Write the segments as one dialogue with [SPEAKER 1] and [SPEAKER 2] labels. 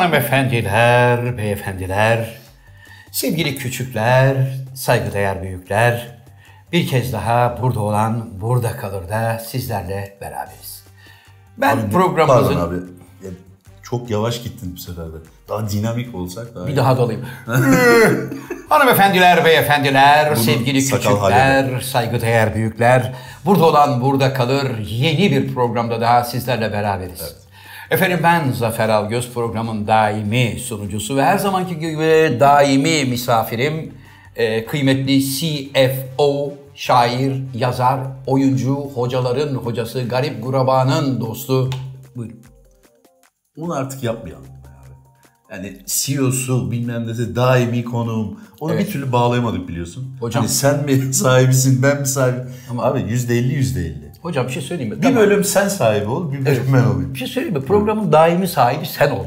[SPEAKER 1] Hanımefendiler, beyefendiler, sevgili küçükler, saygıdeğer büyükler, bir kez daha burada olan burada kalır da sizlerle beraberiz. Ben programımızın...
[SPEAKER 2] Pardon abi. Ya, çok yavaş gittin bu sefer de. Daha dinamik olsak daha
[SPEAKER 1] Bir
[SPEAKER 2] iyi.
[SPEAKER 1] daha dolayım. Hanımefendiler, beyefendiler, sevgili
[SPEAKER 2] sakal
[SPEAKER 1] küçükler,
[SPEAKER 2] halleder.
[SPEAKER 1] saygıdeğer büyükler. Burada olan burada kalır. Yeni bir programda daha sizlerle beraberiz. Efendim ben Zafer Algöz programın daimi sunucusu ve her zamanki gibi daimi misafirim e, kıymetli CFO, şair, yazar, oyuncu, hocaların hocası, garip gurabanın dostu. Buyurun.
[SPEAKER 2] Onu artık yapmayalım. abi. Yani CEO'su bilmem nesi daimi konuğum. Onu bir türlü bağlayamadık biliyorsun.
[SPEAKER 1] Hocam.
[SPEAKER 2] Hani sen mi sahibisin ben mi sahibim? Ama abi %50 %50.
[SPEAKER 1] Hocam bir şey söyleyeyim mi?
[SPEAKER 2] Bir bölüm sen sahibi ol, bir bölüm ben olayım.
[SPEAKER 1] Bir şey söyleyeyim mi? Programın daimi sahibi sen ol.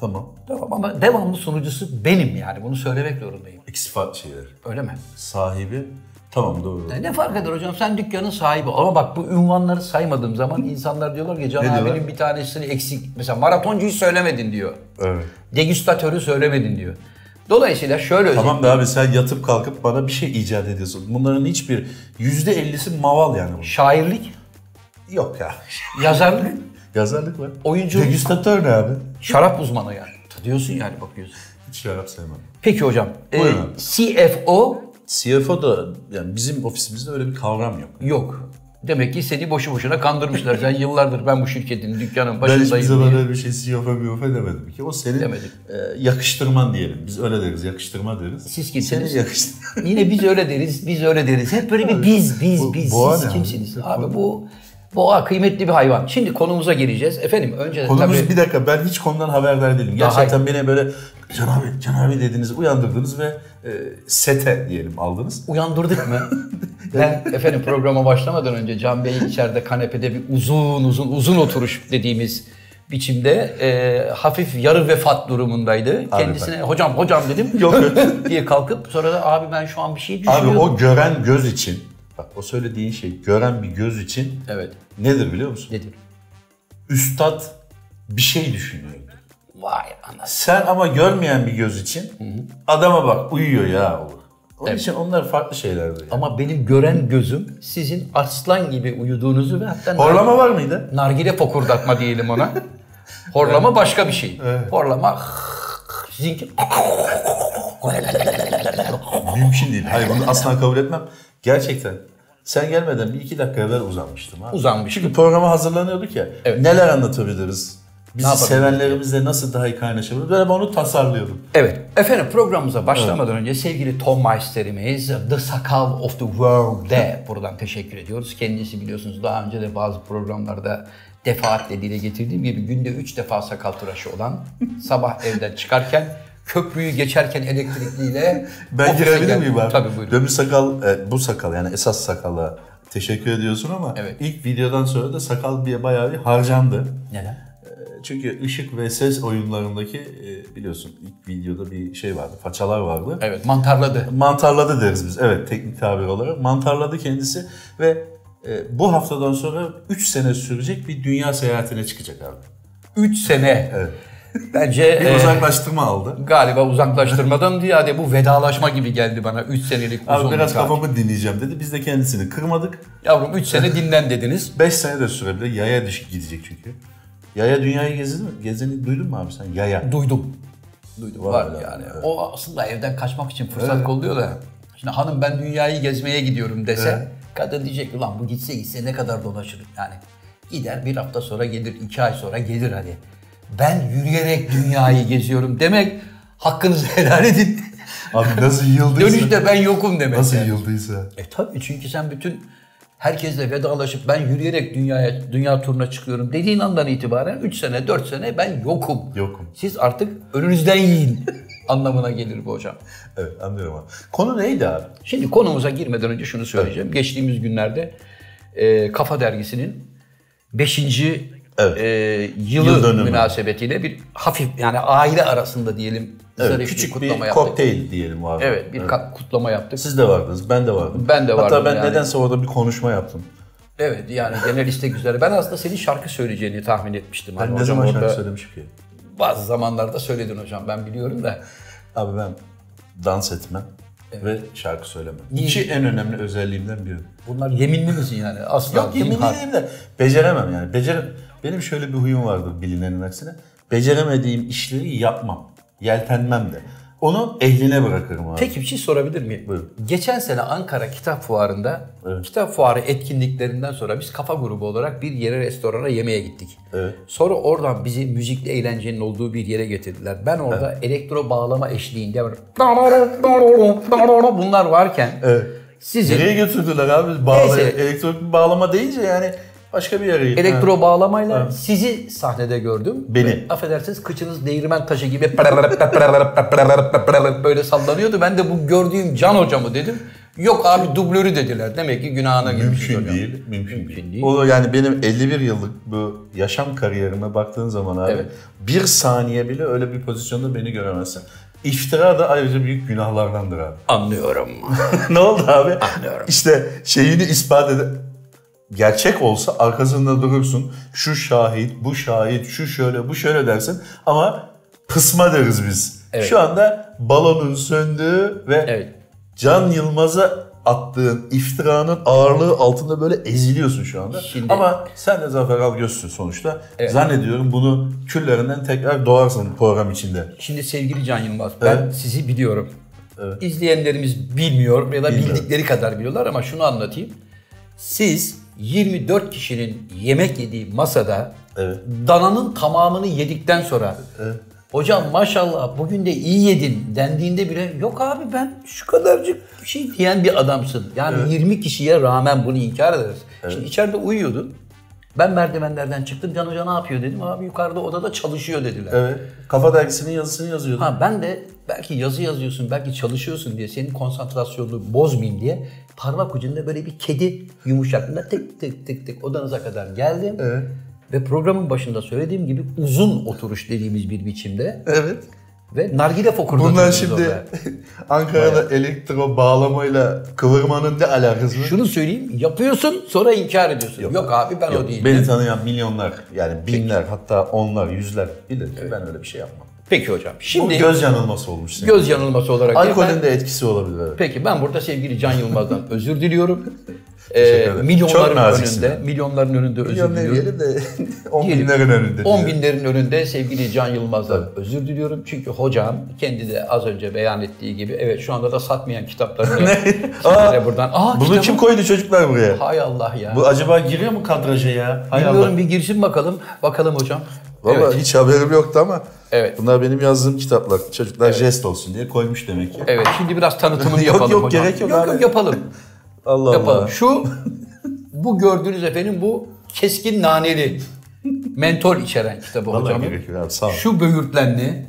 [SPEAKER 2] Tamam.
[SPEAKER 1] Tamam ama devamlı sunucusu benim yani. Bunu söylemek zorundayım.
[SPEAKER 2] İkisi farklı şeyler.
[SPEAKER 1] Öyle mi?
[SPEAKER 2] Sahibi tamam doğru.
[SPEAKER 1] E Ne fark eder hocam? Sen dükkanın sahibi. Ama bak bu ünvanları saymadığım zaman insanlar diyorlar ki Can
[SPEAKER 2] Ne diyorlar?
[SPEAKER 1] abinin bir tanesini eksik. Mesela maratoncuyu söylemedin diyor.
[SPEAKER 2] Evet.
[SPEAKER 1] Degüstatörü söylemedin diyor. Dolayısıyla şöyle özet-
[SPEAKER 2] Tamam da abi sen yatıp kalkıp bana bir şey icat ediyorsun. Bunların hiçbir %50'si maval yani. bunun.
[SPEAKER 1] Şairlik,
[SPEAKER 2] Yok ya.
[SPEAKER 1] yazarlık,
[SPEAKER 2] Yazarlık var.
[SPEAKER 1] Oyuncu-
[SPEAKER 2] Degüstatör ne abi?
[SPEAKER 1] şarap uzmanı yani. Diyorsun yani bakıyorsun.
[SPEAKER 2] Hiç şarap sevmem.
[SPEAKER 1] Peki hocam. e,
[SPEAKER 2] Buyurun.
[SPEAKER 1] CFO
[SPEAKER 2] CFO da yani bizim ofisimizde öyle bir kavram yok.
[SPEAKER 1] yok. Demek ki seni boşu boşuna kandırmışlar. Sen yıllardır ben bu şirketin, dükkanın
[SPEAKER 2] Ben hiçbir
[SPEAKER 1] başındayım.
[SPEAKER 2] zaman
[SPEAKER 1] diye.
[SPEAKER 2] öyle bir şey CFO, CFO demedim ki. O senin
[SPEAKER 1] Demedim.
[SPEAKER 2] e, yakıştırman diyelim. Biz öyle deriz, yakıştırma deriz.
[SPEAKER 1] Siz kimsiniz?
[SPEAKER 2] Senin yakıştır-
[SPEAKER 1] Yine biz öyle deriz, biz öyle deriz. Hep böyle bir biz, biz,
[SPEAKER 2] Bu-
[SPEAKER 1] biz.
[SPEAKER 2] boğa ne
[SPEAKER 1] Siz
[SPEAKER 2] abi?
[SPEAKER 1] kimsiniz? Abi bu boğa kıymetli bir hayvan. Şimdi konumuza gireceğiz. Efendim önce
[SPEAKER 2] Konumuz
[SPEAKER 1] tabii
[SPEAKER 2] bir dakika ben hiç konudan haberdar değilim.
[SPEAKER 1] Daha
[SPEAKER 2] Gerçekten beni böyle Can abi, Can abi dediniz, uyandırdınız ve e, sete diyelim aldınız.
[SPEAKER 1] uyandırdık mı? ben efendim programa başlamadan önce Can Bey'in içeride kanepede bir uzun uzun uzun oturuş dediğimiz biçimde e, hafif yarı vefat durumundaydı. Kendisine hocam hocam dedim diye kalkıp sonra da abi ben şu an bir şey
[SPEAKER 2] Abi
[SPEAKER 1] düşünüyorum.
[SPEAKER 2] o gören göz için, bak o söylediğin şey gören bir göz için
[SPEAKER 1] Evet
[SPEAKER 2] nedir biliyor musun?
[SPEAKER 1] dedim.
[SPEAKER 2] Üstad bir şey düşünüyordu.
[SPEAKER 1] Vay anasını.
[SPEAKER 2] Sen ama görmeyen bir göz için adama bak uyuyor ya olur. Onun için onlar farklı şeylerdir. Yani.
[SPEAKER 1] Ama benim gören gözüm sizin aslan gibi uyuduğunuzu ve hatta nar-
[SPEAKER 2] Horlama var mıydı?
[SPEAKER 1] nargile fokurdatma diyelim ona. Horlama başka bir şey. Horlama sizinki
[SPEAKER 2] Mümkün değil. Hayır bunu asla kabul etmem. Gerçekten. Sen gelmeden bir iki dakika evvel uzanmıştım. Abi.
[SPEAKER 1] uzanmış.
[SPEAKER 2] Çünkü programa hazırlanıyorduk ya.
[SPEAKER 1] Evet.
[SPEAKER 2] Neler anlatabiliriz? Bizi
[SPEAKER 1] yapabiliriz?
[SPEAKER 2] sevenlerimizle nasıl daha iyi kaynaşabiliriz? Böyle ben onu tasarlıyordum.
[SPEAKER 1] Evet. Efendim programımıza başlamadan önce sevgili Tom Meister'imiz The Sakal of the World'e buradan teşekkür ediyoruz. Kendisi biliyorsunuz daha önce de bazı programlarda defaatle dile getirdiğim gibi günde 3 defa sakal tıraşı olan sabah evden çıkarken köprüyü geçerken elektrikliyle
[SPEAKER 2] Ben
[SPEAKER 1] ofise
[SPEAKER 2] girebilir
[SPEAKER 1] gel-
[SPEAKER 2] miyim abi?
[SPEAKER 1] Tabii buyurun.
[SPEAKER 2] Dömür sakal, e, bu sakal yani esas sakala teşekkür ediyorsun ama
[SPEAKER 1] Evet.
[SPEAKER 2] ilk videodan sonra da sakal bir bayağı bir harcandı.
[SPEAKER 1] Neden?
[SPEAKER 2] Çünkü ışık ve ses oyunlarındaki e, biliyorsun ilk videoda bir şey vardı, façalar vardı.
[SPEAKER 1] Evet mantarladı.
[SPEAKER 2] Mantarladı deriz biz, evet teknik tabir olarak. Mantarladı kendisi ve e, bu haftadan sonra 3 sene sürecek bir dünya seyahatine çıkacak abi.
[SPEAKER 1] 3 sene.
[SPEAKER 2] Evet.
[SPEAKER 1] Bence
[SPEAKER 2] Bir
[SPEAKER 1] e,
[SPEAKER 2] uzaklaştırma aldı.
[SPEAKER 1] galiba uzaklaştırmadan ziyade bu vedalaşma gibi geldi bana 3 senelik uzun
[SPEAKER 2] Abi biraz
[SPEAKER 1] bir tatil.
[SPEAKER 2] kafamı dinleyeceğim dedi. Biz de kendisini kırmadık.
[SPEAKER 1] Yavrum 3 sene dinlen dediniz.
[SPEAKER 2] 5 sene de sürebilir. Yaya düşük gidecek çünkü. Yaya dünyayı gezdin mi? Gezeni duydun mu abi sen? Yaya.
[SPEAKER 1] Duydum. Duydum var,
[SPEAKER 2] Var
[SPEAKER 1] yani. O aslında evden kaçmak için fırsat kolluyor da. Şimdi hanım ben dünyayı gezmeye gidiyorum dese kadın diyecek ki ulan bu gitse gitse ne kadar dolaşır yani. Gider bir hafta sonra gelir, iki ay sonra gelir hani. Ben yürüyerek dünyayı geziyorum demek hakkınızı helal edin.
[SPEAKER 2] Abi nasıl yıldıysa.
[SPEAKER 1] Dönüşte ben yokum demek.
[SPEAKER 2] Nasıl
[SPEAKER 1] yani.
[SPEAKER 2] yıldıysa.
[SPEAKER 1] E tabii çünkü sen bütün herkesle vedalaşıp ben yürüyerek dünyaya dünya turuna çıkıyorum dediğin andan itibaren 3 sene 4 sene ben yokum.
[SPEAKER 2] Yokum.
[SPEAKER 1] Siz artık önünüzden yiyin anlamına gelir bu hocam.
[SPEAKER 2] Evet anlıyorum abi. Konu neydi abi?
[SPEAKER 1] Şimdi konumuza girmeden önce şunu söyleyeceğim. Geçtiğimiz günlerde e, Kafa Dergisi'nin 5.
[SPEAKER 2] Evet.
[SPEAKER 1] e, yılı
[SPEAKER 2] Yıl dönümü.
[SPEAKER 1] münasebetiyle bir hafif yani aile arasında diyelim
[SPEAKER 2] Evet,
[SPEAKER 1] zarif bir
[SPEAKER 2] küçük bir,
[SPEAKER 1] kutlama yaptık.
[SPEAKER 2] kokteyl diyelim abi.
[SPEAKER 1] Evet bir ka- kutlama yaptık.
[SPEAKER 2] Siz de vardınız, ben de vardım.
[SPEAKER 1] Ben de vardım
[SPEAKER 2] Hatta ben
[SPEAKER 1] yani.
[SPEAKER 2] nedense orada bir konuşma yaptım.
[SPEAKER 1] Evet yani genel istek üzere. Ben aslında senin şarkı söyleyeceğini tahmin etmiştim. Hani
[SPEAKER 2] Ben ne
[SPEAKER 1] hocam
[SPEAKER 2] zaman şarkı
[SPEAKER 1] orada-
[SPEAKER 2] söylemişim ki?
[SPEAKER 1] Bazı zamanlarda söyledin hocam ben biliyorum da.
[SPEAKER 2] Abi ben dans etmem ve şarkı söylemem. İki en önemli özelliğimden biri.
[SPEAKER 1] Bunlar yeminli misin yani? Asla.
[SPEAKER 2] Yok
[SPEAKER 1] değil mi?
[SPEAKER 2] yemin ederim de beceremem yani. Becerem. Benim şöyle bir huyum vardı bilinenin aksine. Beceremediğim işleri yapmam. Yeltenmem de. Onu ehline bırakırım abi.
[SPEAKER 1] Peki bir şey sorabilir miyim?
[SPEAKER 2] Buyurun.
[SPEAKER 1] Geçen sene Ankara Kitap Fuarı'nda kitap fuarı etkinliklerinden sonra biz kafa grubu olarak bir yere restorana yemeğe gittik.
[SPEAKER 2] Evet.
[SPEAKER 1] Sonra oradan bizi müzikli eğlencenin olduğu bir yere getirdiler. Ben orada elektro bağlama eşliğinde böyle bunlar varken
[SPEAKER 2] Evet.
[SPEAKER 1] sizin
[SPEAKER 2] Nereye götürdüler abi? Bağla,
[SPEAKER 1] Neyse.
[SPEAKER 2] elektronik bir bağlama deyince yani başka bir yere gittim.
[SPEAKER 1] elektro bağlamayla sizi sahnede gördüm.
[SPEAKER 2] Beni.
[SPEAKER 1] Ve affedersiniz kıçınız değirmen taşı gibi böyle sallanıyordu. Ben de bu gördüğüm Can hocamı dedim. Yok abi dublörü dediler. Demek ki günahına girmiş
[SPEAKER 2] Mümkün
[SPEAKER 1] hocam.
[SPEAKER 2] değil, mümkün,
[SPEAKER 1] Mümkün
[SPEAKER 2] değil.
[SPEAKER 1] değil.
[SPEAKER 2] O yani benim 51 yıllık bu yaşam kariyerime baktığın zaman abi
[SPEAKER 1] Evet.
[SPEAKER 2] bir saniye bile öyle bir pozisyonda beni göremezsin. İftira da ayrıca büyük günahlardandır abi.
[SPEAKER 1] Anlıyorum.
[SPEAKER 2] ne oldu abi?
[SPEAKER 1] Anlıyorum.
[SPEAKER 2] İşte şeyini ispat ede gerçek olsa arkasında durursun. Şu şahit, bu şahit, şu şöyle, bu şöyle dersin ama pısma deriz biz.
[SPEAKER 1] Evet.
[SPEAKER 2] Şu anda balonun söndüğü ve
[SPEAKER 1] Evet.
[SPEAKER 2] Can Yılmaz'a attığın iftiranın ağırlığı altında böyle eziliyorsun şu anda.
[SPEAKER 1] Şimdi-
[SPEAKER 2] Ama sen de Zafer Algöz'sün sonuçta. Zannediyorum bunu küllerinden tekrar doğarsın program içinde.
[SPEAKER 1] Şimdi sevgili Can Yılmaz ben sizi biliyorum. İzleyenlerimiz bilmiyor ya da
[SPEAKER 2] Bilmiyorum.
[SPEAKER 1] bildikleri kadar biliyorlar ama şunu anlatayım. Siz 24 kişinin yemek yediği masada
[SPEAKER 2] Evet.
[SPEAKER 1] dananın tamamını yedikten sonra hocam maşallah bugün de iyi yedin dendiğinde bile yok abi ben şu kadarcık bir şey diyen bir adamsın. Yani 20 kişiye rağmen bunu inkar ederiz. Şimdi içeride uyuyordun. Ben merdivenlerden çıktım. Can Hoca ne yapıyor dedim. Abi yukarıda odada çalışıyor dediler.
[SPEAKER 2] Evet. Kafa dergisinin yazısını yazıyordum.
[SPEAKER 1] Ha ben de belki yazı yazıyorsun, belki çalışıyorsun diye senin konsantrasyonunu bozmayayım diye parmak ucunda böyle bir kedi yumuşaklığında tık tık tık tık odanıza kadar geldim.
[SPEAKER 2] Evet.
[SPEAKER 1] Ve programın başında söylediğim gibi uzun oturuş dediğimiz bir biçimde
[SPEAKER 2] Evet.
[SPEAKER 1] ve nargile fokurdatıyoruz
[SPEAKER 2] Bunlar şimdi
[SPEAKER 1] orada.
[SPEAKER 2] Ankara'da elektro bağlamayla kıvırmanın ne alakası var?
[SPEAKER 1] Şunu söyleyeyim, yapıyorsun sonra inkar ediyorsun. Yok, abi ben o değilim.
[SPEAKER 2] Beni tanıyan milyonlar yani binler hatta onlar yüzler bilir ki ben öyle bir şey yapmam.
[SPEAKER 1] Peki hocam,
[SPEAKER 2] Bu
[SPEAKER 1] şimdi göz,
[SPEAKER 2] göz yanılması olmuş senin.
[SPEAKER 1] yanılması olarak...
[SPEAKER 2] Alkolün
[SPEAKER 1] ben-
[SPEAKER 2] de etkisi olabilir. Evet.
[SPEAKER 1] Peki ben burada sevgili Can Yılmaz'dan özür diliyorum.
[SPEAKER 2] Teşekkür
[SPEAKER 1] Ee,
[SPEAKER 2] ederim. Çok
[SPEAKER 1] milyonların
[SPEAKER 2] naziksin.
[SPEAKER 1] önünde, milyonların önünde özür
[SPEAKER 2] Milyon
[SPEAKER 1] diliyorum.
[SPEAKER 2] demeyelim de 10
[SPEAKER 1] Diyelim.
[SPEAKER 2] binlerin önünde.
[SPEAKER 1] 10
[SPEAKER 2] diyelim.
[SPEAKER 1] binlerin önünde sevgili Can Yılmaz'dan özür diliyorum. Çünkü hocam kendi de az önce beyan ettiği gibi evet şu anda da satmayan kitaplarını sizlere
[SPEAKER 2] Aa,
[SPEAKER 1] buradan. Aa,
[SPEAKER 2] Bunu
[SPEAKER 1] kitabı-
[SPEAKER 2] kim koydu çocuklar buraya?
[SPEAKER 1] Hay Allah ya.
[SPEAKER 2] Bu acaba giriyor mu kadraja ya? Hay
[SPEAKER 1] Bilmiyorum bir girsin bakalım. Bakalım hocam.
[SPEAKER 2] Valla
[SPEAKER 1] Evet.
[SPEAKER 2] hiç haberim yoktu ama
[SPEAKER 1] Evet.
[SPEAKER 2] bunlar benim yazdığım kitaplar. Çocuklar jest olsun diye koymuş demek ki.
[SPEAKER 1] Evet şimdi biraz tanıtımını
[SPEAKER 2] Yok,
[SPEAKER 1] yapalım
[SPEAKER 2] yok,
[SPEAKER 1] hocam.
[SPEAKER 2] gerek yok
[SPEAKER 1] yok,
[SPEAKER 2] abi.
[SPEAKER 1] yapalım.
[SPEAKER 2] Allah
[SPEAKER 1] yapalım.
[SPEAKER 2] Allah.
[SPEAKER 1] Şu bu gördüğünüz efendim bu keskin naneli mentol içeren kitabı
[SPEAKER 2] Vallahi
[SPEAKER 1] hocam.
[SPEAKER 2] gerek yok abi sağ ol.
[SPEAKER 1] Şu böğürtlenli.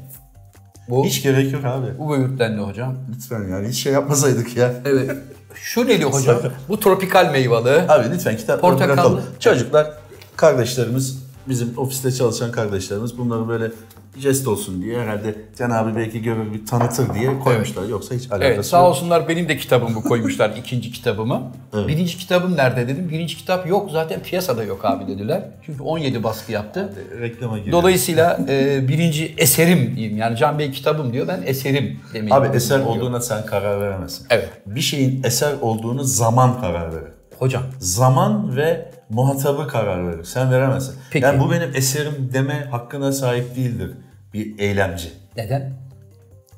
[SPEAKER 1] Bu,
[SPEAKER 2] Hiç gerek yok abi.
[SPEAKER 1] bu böğürtlenli hocam.
[SPEAKER 2] Lütfen yani hiç şey yapmasaydık ya.
[SPEAKER 1] Evet. Şu neli hocam?
[SPEAKER 2] Sakın.
[SPEAKER 1] Bu tropikal meyvalı.
[SPEAKER 2] Abi lütfen kitapları
[SPEAKER 1] Portakallı.
[SPEAKER 2] bırakalım. Çocuklar, kardeşlerimiz, bizim ofiste çalışan kardeşlerimiz bunları böyle jest olsun diye herhalde Cenab-ı Hak belki görür bir tanıtır diye koymuşlar. Yoksa hiç alakası
[SPEAKER 1] Evet sağ
[SPEAKER 2] yok.
[SPEAKER 1] olsunlar benim de kitabımı koymuşlar ikinci kitabımı. Birinci kitabım nerede dedim. Birinci kitap yok zaten piyasada yok abi dediler. Çünkü 17 baskı yaptı.
[SPEAKER 2] Reklama giriyor.
[SPEAKER 1] Dolayısıyla e, birinci eserim diyeyim. Yani Can Bey kitabım diyor ben eserim demeyi.
[SPEAKER 2] Abi eser olduğuna sen karar veremezsin.
[SPEAKER 1] Evet.
[SPEAKER 2] Bir şeyin eser olduğunu zaman karar verir.
[SPEAKER 1] Hocam
[SPEAKER 2] Zaman ve muhatabı karar verir. Sen veremezsin.
[SPEAKER 1] Peki.
[SPEAKER 2] Yani bu benim eserim deme hakkına sahip değildir bir eylemci.
[SPEAKER 1] neden?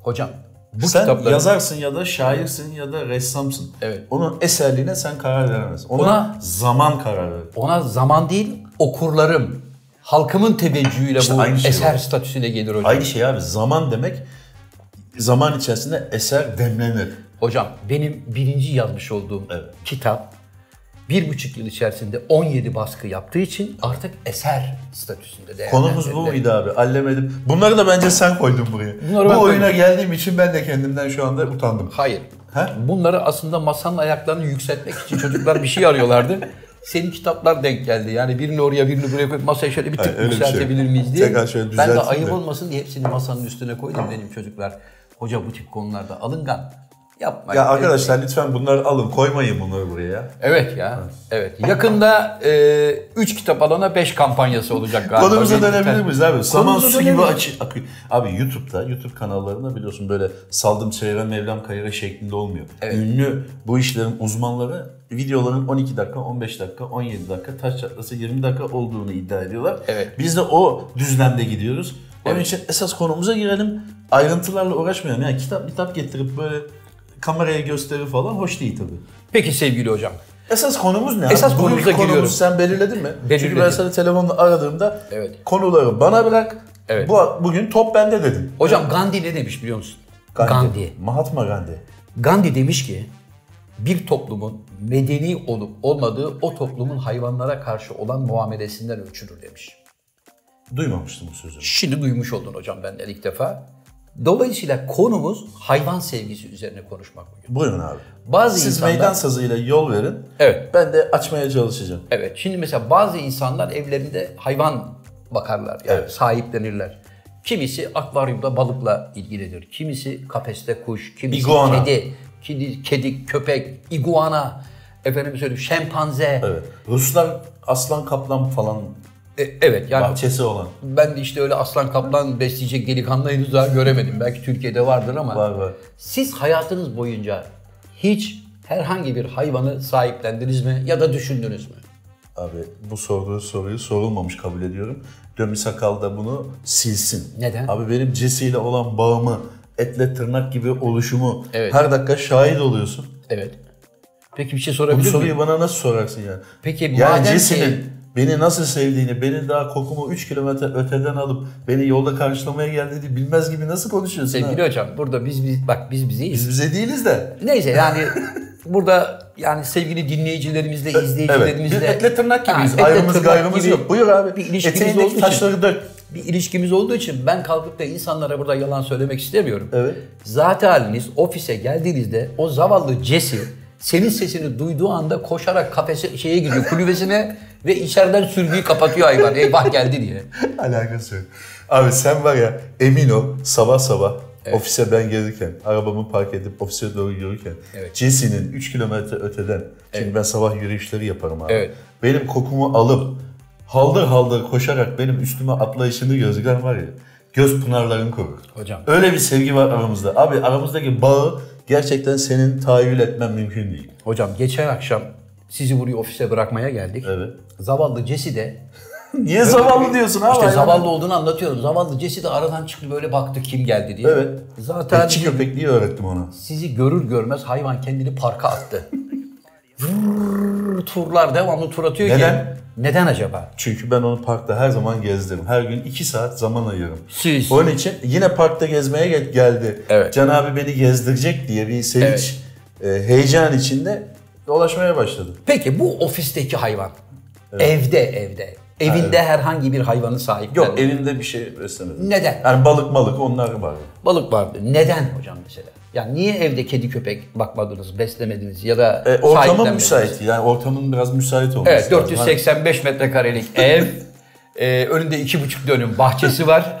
[SPEAKER 1] Hocam bu
[SPEAKER 2] sen
[SPEAKER 1] kitapları
[SPEAKER 2] yazarsın ya da şairsin ya da ressamsın.
[SPEAKER 1] Evet.
[SPEAKER 2] Onun eserliğine sen karar veremezsin. Ona,
[SPEAKER 1] Ona-
[SPEAKER 2] zaman karar verir.
[SPEAKER 1] ona zaman değil okurlarım, halkımın teveccühüyle
[SPEAKER 2] İşte
[SPEAKER 1] bu
[SPEAKER 2] aynı şey
[SPEAKER 1] eser
[SPEAKER 2] o.
[SPEAKER 1] statüsüne gelir hocam.
[SPEAKER 2] Aynı şey abi zaman demek zaman içerisinde eser demlenir.
[SPEAKER 1] Hocam benim birinci yazmış olduğum
[SPEAKER 2] Evet.
[SPEAKER 1] kitap bir buçuk yıl içerisinde 17 baskı yaptığı için artık eser statüsünde değerlendirildi.
[SPEAKER 2] Konumuz bu muydu abi? Allemedim. Bunları da bence sen koydun buraya.
[SPEAKER 1] Bunları ben
[SPEAKER 2] bu oyuna
[SPEAKER 1] koydum.
[SPEAKER 2] geldiğim için ben de kendimden şu anda utandım.
[SPEAKER 1] Hayır.
[SPEAKER 2] He?
[SPEAKER 1] Bunları aslında masanın ayaklarını yükseltmek için çocuklar bir şey arıyorlardı. Senin kitaplar denk geldi. Yani birini oraya birini buraya koyup masaya şöyle bir tık
[SPEAKER 2] Hayır, öyle bir şey yok.
[SPEAKER 1] yükseltebilir miyiz diye.
[SPEAKER 2] Tekrar şöyle
[SPEAKER 1] ben de
[SPEAKER 2] düzelteyim
[SPEAKER 1] ayıp
[SPEAKER 2] de.
[SPEAKER 1] olmasın diye hepsini masanın üstüne koydum benim çocuklar. Hoca bu tip konularda alıngan. Yapma.
[SPEAKER 2] Ya arkadaşlar lütfen bunları alın koymayın bunları buraya.
[SPEAKER 1] Evet ya. Evet. Yakında 3 kitap alana 5 kampanyası olacak galiba.
[SPEAKER 2] Konumuza
[SPEAKER 1] Lütfen.
[SPEAKER 2] dönebilir miyiz abi? Saman
[SPEAKER 1] Konumuza
[SPEAKER 2] su gibi
[SPEAKER 1] dönelim.
[SPEAKER 2] açı akıyor. Abi YouTube'da, YouTube kanallarında biliyorsun böyle saldım çevrem mevlam kayıra şeklinde olmuyor. Ünlü bu işlerin uzmanları videoların 12 dakika, 15 dakika, 17 dakika, taş çatlası 20 dakika olduğunu iddia ediyorlar.
[SPEAKER 1] Evet.
[SPEAKER 2] Biz de o düzlemde gidiyoruz. Onun için esas konumuza girelim. Ayrıntılarla uğraşmayalım. Yani kitap kitap getirip böyle kameraya gösteri falan hoş değil tabii.
[SPEAKER 1] Peki sevgili hocam.
[SPEAKER 2] Esas konumuz ne?
[SPEAKER 1] Esas
[SPEAKER 2] abi?
[SPEAKER 1] konumuza
[SPEAKER 2] Bugünkü konumuz
[SPEAKER 1] giriyorum.
[SPEAKER 2] sen belirledin mi? Çünkü ben
[SPEAKER 1] Belirledim.
[SPEAKER 2] sana telefonla aradığımda
[SPEAKER 1] Evet.
[SPEAKER 2] konuları bana bırak.
[SPEAKER 1] Evet.
[SPEAKER 2] Bu bugün top bende dedim.
[SPEAKER 1] Hocam Gandhi ne demiş biliyor musun? Gandhi.
[SPEAKER 2] Mahatma Gandhi.
[SPEAKER 1] Gandhi demiş ki bir toplumun medeni olup olmadığı o toplumun hayvanlara karşı olan muamelesinden ölçülür demiş.
[SPEAKER 2] Duymamıştım bu sözü.
[SPEAKER 1] Şimdi duymuş oldun hocam benden ilk defa. Dolayısıyla konumuz hayvan sevgisi üzerine konuşmak bugün.
[SPEAKER 2] Buyurun abi.
[SPEAKER 1] Bazı
[SPEAKER 2] Siz
[SPEAKER 1] insanlar...
[SPEAKER 2] meydan sazıyla yol verin.
[SPEAKER 1] Evet.
[SPEAKER 2] Ben de açmaya çalışacağım.
[SPEAKER 1] Evet. Şimdi mesela bazı insanlar evlerinde hayvan bakarlar. Yani sahiplenirler. Kimisi akvaryumda balıkla ilgilidir. Kimisi kafeste kuş, kimisi
[SPEAKER 2] İguana.
[SPEAKER 1] kedi, kedi, kedi, köpek, iguana, efendim söyleyeyim şempanze.
[SPEAKER 2] Evet. Ruslar aslan kaplan falan
[SPEAKER 1] E, evet yani
[SPEAKER 2] bahçesi olan.
[SPEAKER 1] ben de işte öyle aslan kaplan besleyecek delikanlı henüz daha göremedim. Belki Türkiye'de vardır ama
[SPEAKER 2] Var var.
[SPEAKER 1] siz hayatınız boyunca hiç herhangi bir hayvanı sahiplendiniz mi ya da düşündünüz mü?
[SPEAKER 2] Abi bu sorduğu soruyu sorulmamış kabul ediyorum. Dömi Sakal da bunu silsin.
[SPEAKER 1] Neden?
[SPEAKER 2] Abi benim Jesse ile olan bağımı, etle tırnak gibi oluşumu
[SPEAKER 1] Evet.
[SPEAKER 2] her dakika şahit oluyorsun.
[SPEAKER 1] Evet. Peki bir şey
[SPEAKER 2] Bu
[SPEAKER 1] sorabilir miyim?
[SPEAKER 2] soruyu bana nasıl sorarsın yani?
[SPEAKER 1] Peki
[SPEAKER 2] Yani
[SPEAKER 1] madem ki
[SPEAKER 2] Jesse'nin beni nasıl sevdiğini, beni daha kokumu 3 kilometre öteden alıp beni yolda karşılamaya geldiğini bilmez gibi nasıl konuşuyorsun?
[SPEAKER 1] sevgili
[SPEAKER 2] ha?
[SPEAKER 1] hocam burada biz, biz bak biz bizeyiz.
[SPEAKER 2] Biz bize değiliz de.
[SPEAKER 1] Neyse yani burada yani sevgili dinleyicilerimizle,
[SPEAKER 2] Evet. Biz
[SPEAKER 1] izleyicilerimizle
[SPEAKER 2] etle tırnak gibiyiz.
[SPEAKER 1] Ha, etle
[SPEAKER 2] Ayrımız
[SPEAKER 1] tırnak
[SPEAKER 2] gayrımız
[SPEAKER 1] gibi
[SPEAKER 2] yok. Buyur abi.
[SPEAKER 1] bir
[SPEAKER 2] şey
[SPEAKER 1] ilişkimiz olduğu
[SPEAKER 2] Eteğindeki
[SPEAKER 1] için.
[SPEAKER 2] taşları dök.
[SPEAKER 1] bir ilişkimiz olduğu için ben kalkıp da insanlara burada yalan söylemek istemiyorum.
[SPEAKER 2] Evet.
[SPEAKER 1] Zaten haliniz ofise geldiğinizde o zavallı Jesse senin sesini duyduğu anda koşarak kafese şeye gidiyor kulübesine ve içeriden sürgüyü kapatıyor hayvan. Eyvah geldi diye.
[SPEAKER 2] Alakası yok. Abi sen var ya emin ol sabah sabah ofise ben gelirken, arabamı park edip ofise doğru yürürken
[SPEAKER 1] Evet.
[SPEAKER 2] Jesse'nin 3 kilometre öteden, şimdi ben sabah yürüyüşleri yaparım abi.
[SPEAKER 1] Evet.
[SPEAKER 2] Benim kokumu alıp haldır haldır koşarak benim üstüme atlayışını gözleyen var ya göz pınarların korur.
[SPEAKER 1] Hocam.
[SPEAKER 2] Öyle bir sevgi var aramızda. Abi aramızdaki bağı gerçekten senin tahayyül etmen mümkün değil.
[SPEAKER 1] Hocam geçen akşam sizi buraya ofise bırakmaya geldik.
[SPEAKER 2] Evet.
[SPEAKER 1] Zavallı Jesse de
[SPEAKER 2] Niye zavallı diyorsun abi?
[SPEAKER 1] İşte
[SPEAKER 2] hayvan?
[SPEAKER 1] zavallı olduğunu anlatıyorum. Zavallı Jesse de aradan çıktı böyle baktı kim geldi diye.
[SPEAKER 2] Evet. E,
[SPEAKER 1] Zaten
[SPEAKER 2] Keçi köpekliği öğrettim ona.
[SPEAKER 1] sizi görür görmez hayvan kendini parka attı. Vırrrr turlar devamlı tur atıyor ki.
[SPEAKER 2] Neden?
[SPEAKER 1] Neden acaba?
[SPEAKER 2] Çünkü ben onu parkta her zaman gezdiririm. Her gün 2 saat zaman ayırırım.
[SPEAKER 1] Siz.
[SPEAKER 2] Onun için yine parkta gezmeye gel- geldi.
[SPEAKER 1] Evet.
[SPEAKER 2] Can abi beni gezdirecek diye bir sevinç, e, heyecan içinde dolaşmaya başladı.
[SPEAKER 1] Peki bu ofisteki hayvan. Evde evde. Evinde herhangi bir hayvanı sahip.
[SPEAKER 2] Yok evimde bir şey beslemedim.
[SPEAKER 1] Neden?
[SPEAKER 2] Yani balık malık onlar var. E,
[SPEAKER 1] Balık vardı. Neden hocam mesela? Yani niye evde kedi köpek bakmadınız, beslemediniz ya da
[SPEAKER 2] E, ortamı
[SPEAKER 1] sahiplenmediniz?
[SPEAKER 2] müsait. Yani ortamın biraz müsait olması
[SPEAKER 1] Evet
[SPEAKER 2] lazım. Hani
[SPEAKER 1] 485 metrekarelik ev. Ee, önünde iki buçuk dönüm bahçesi var.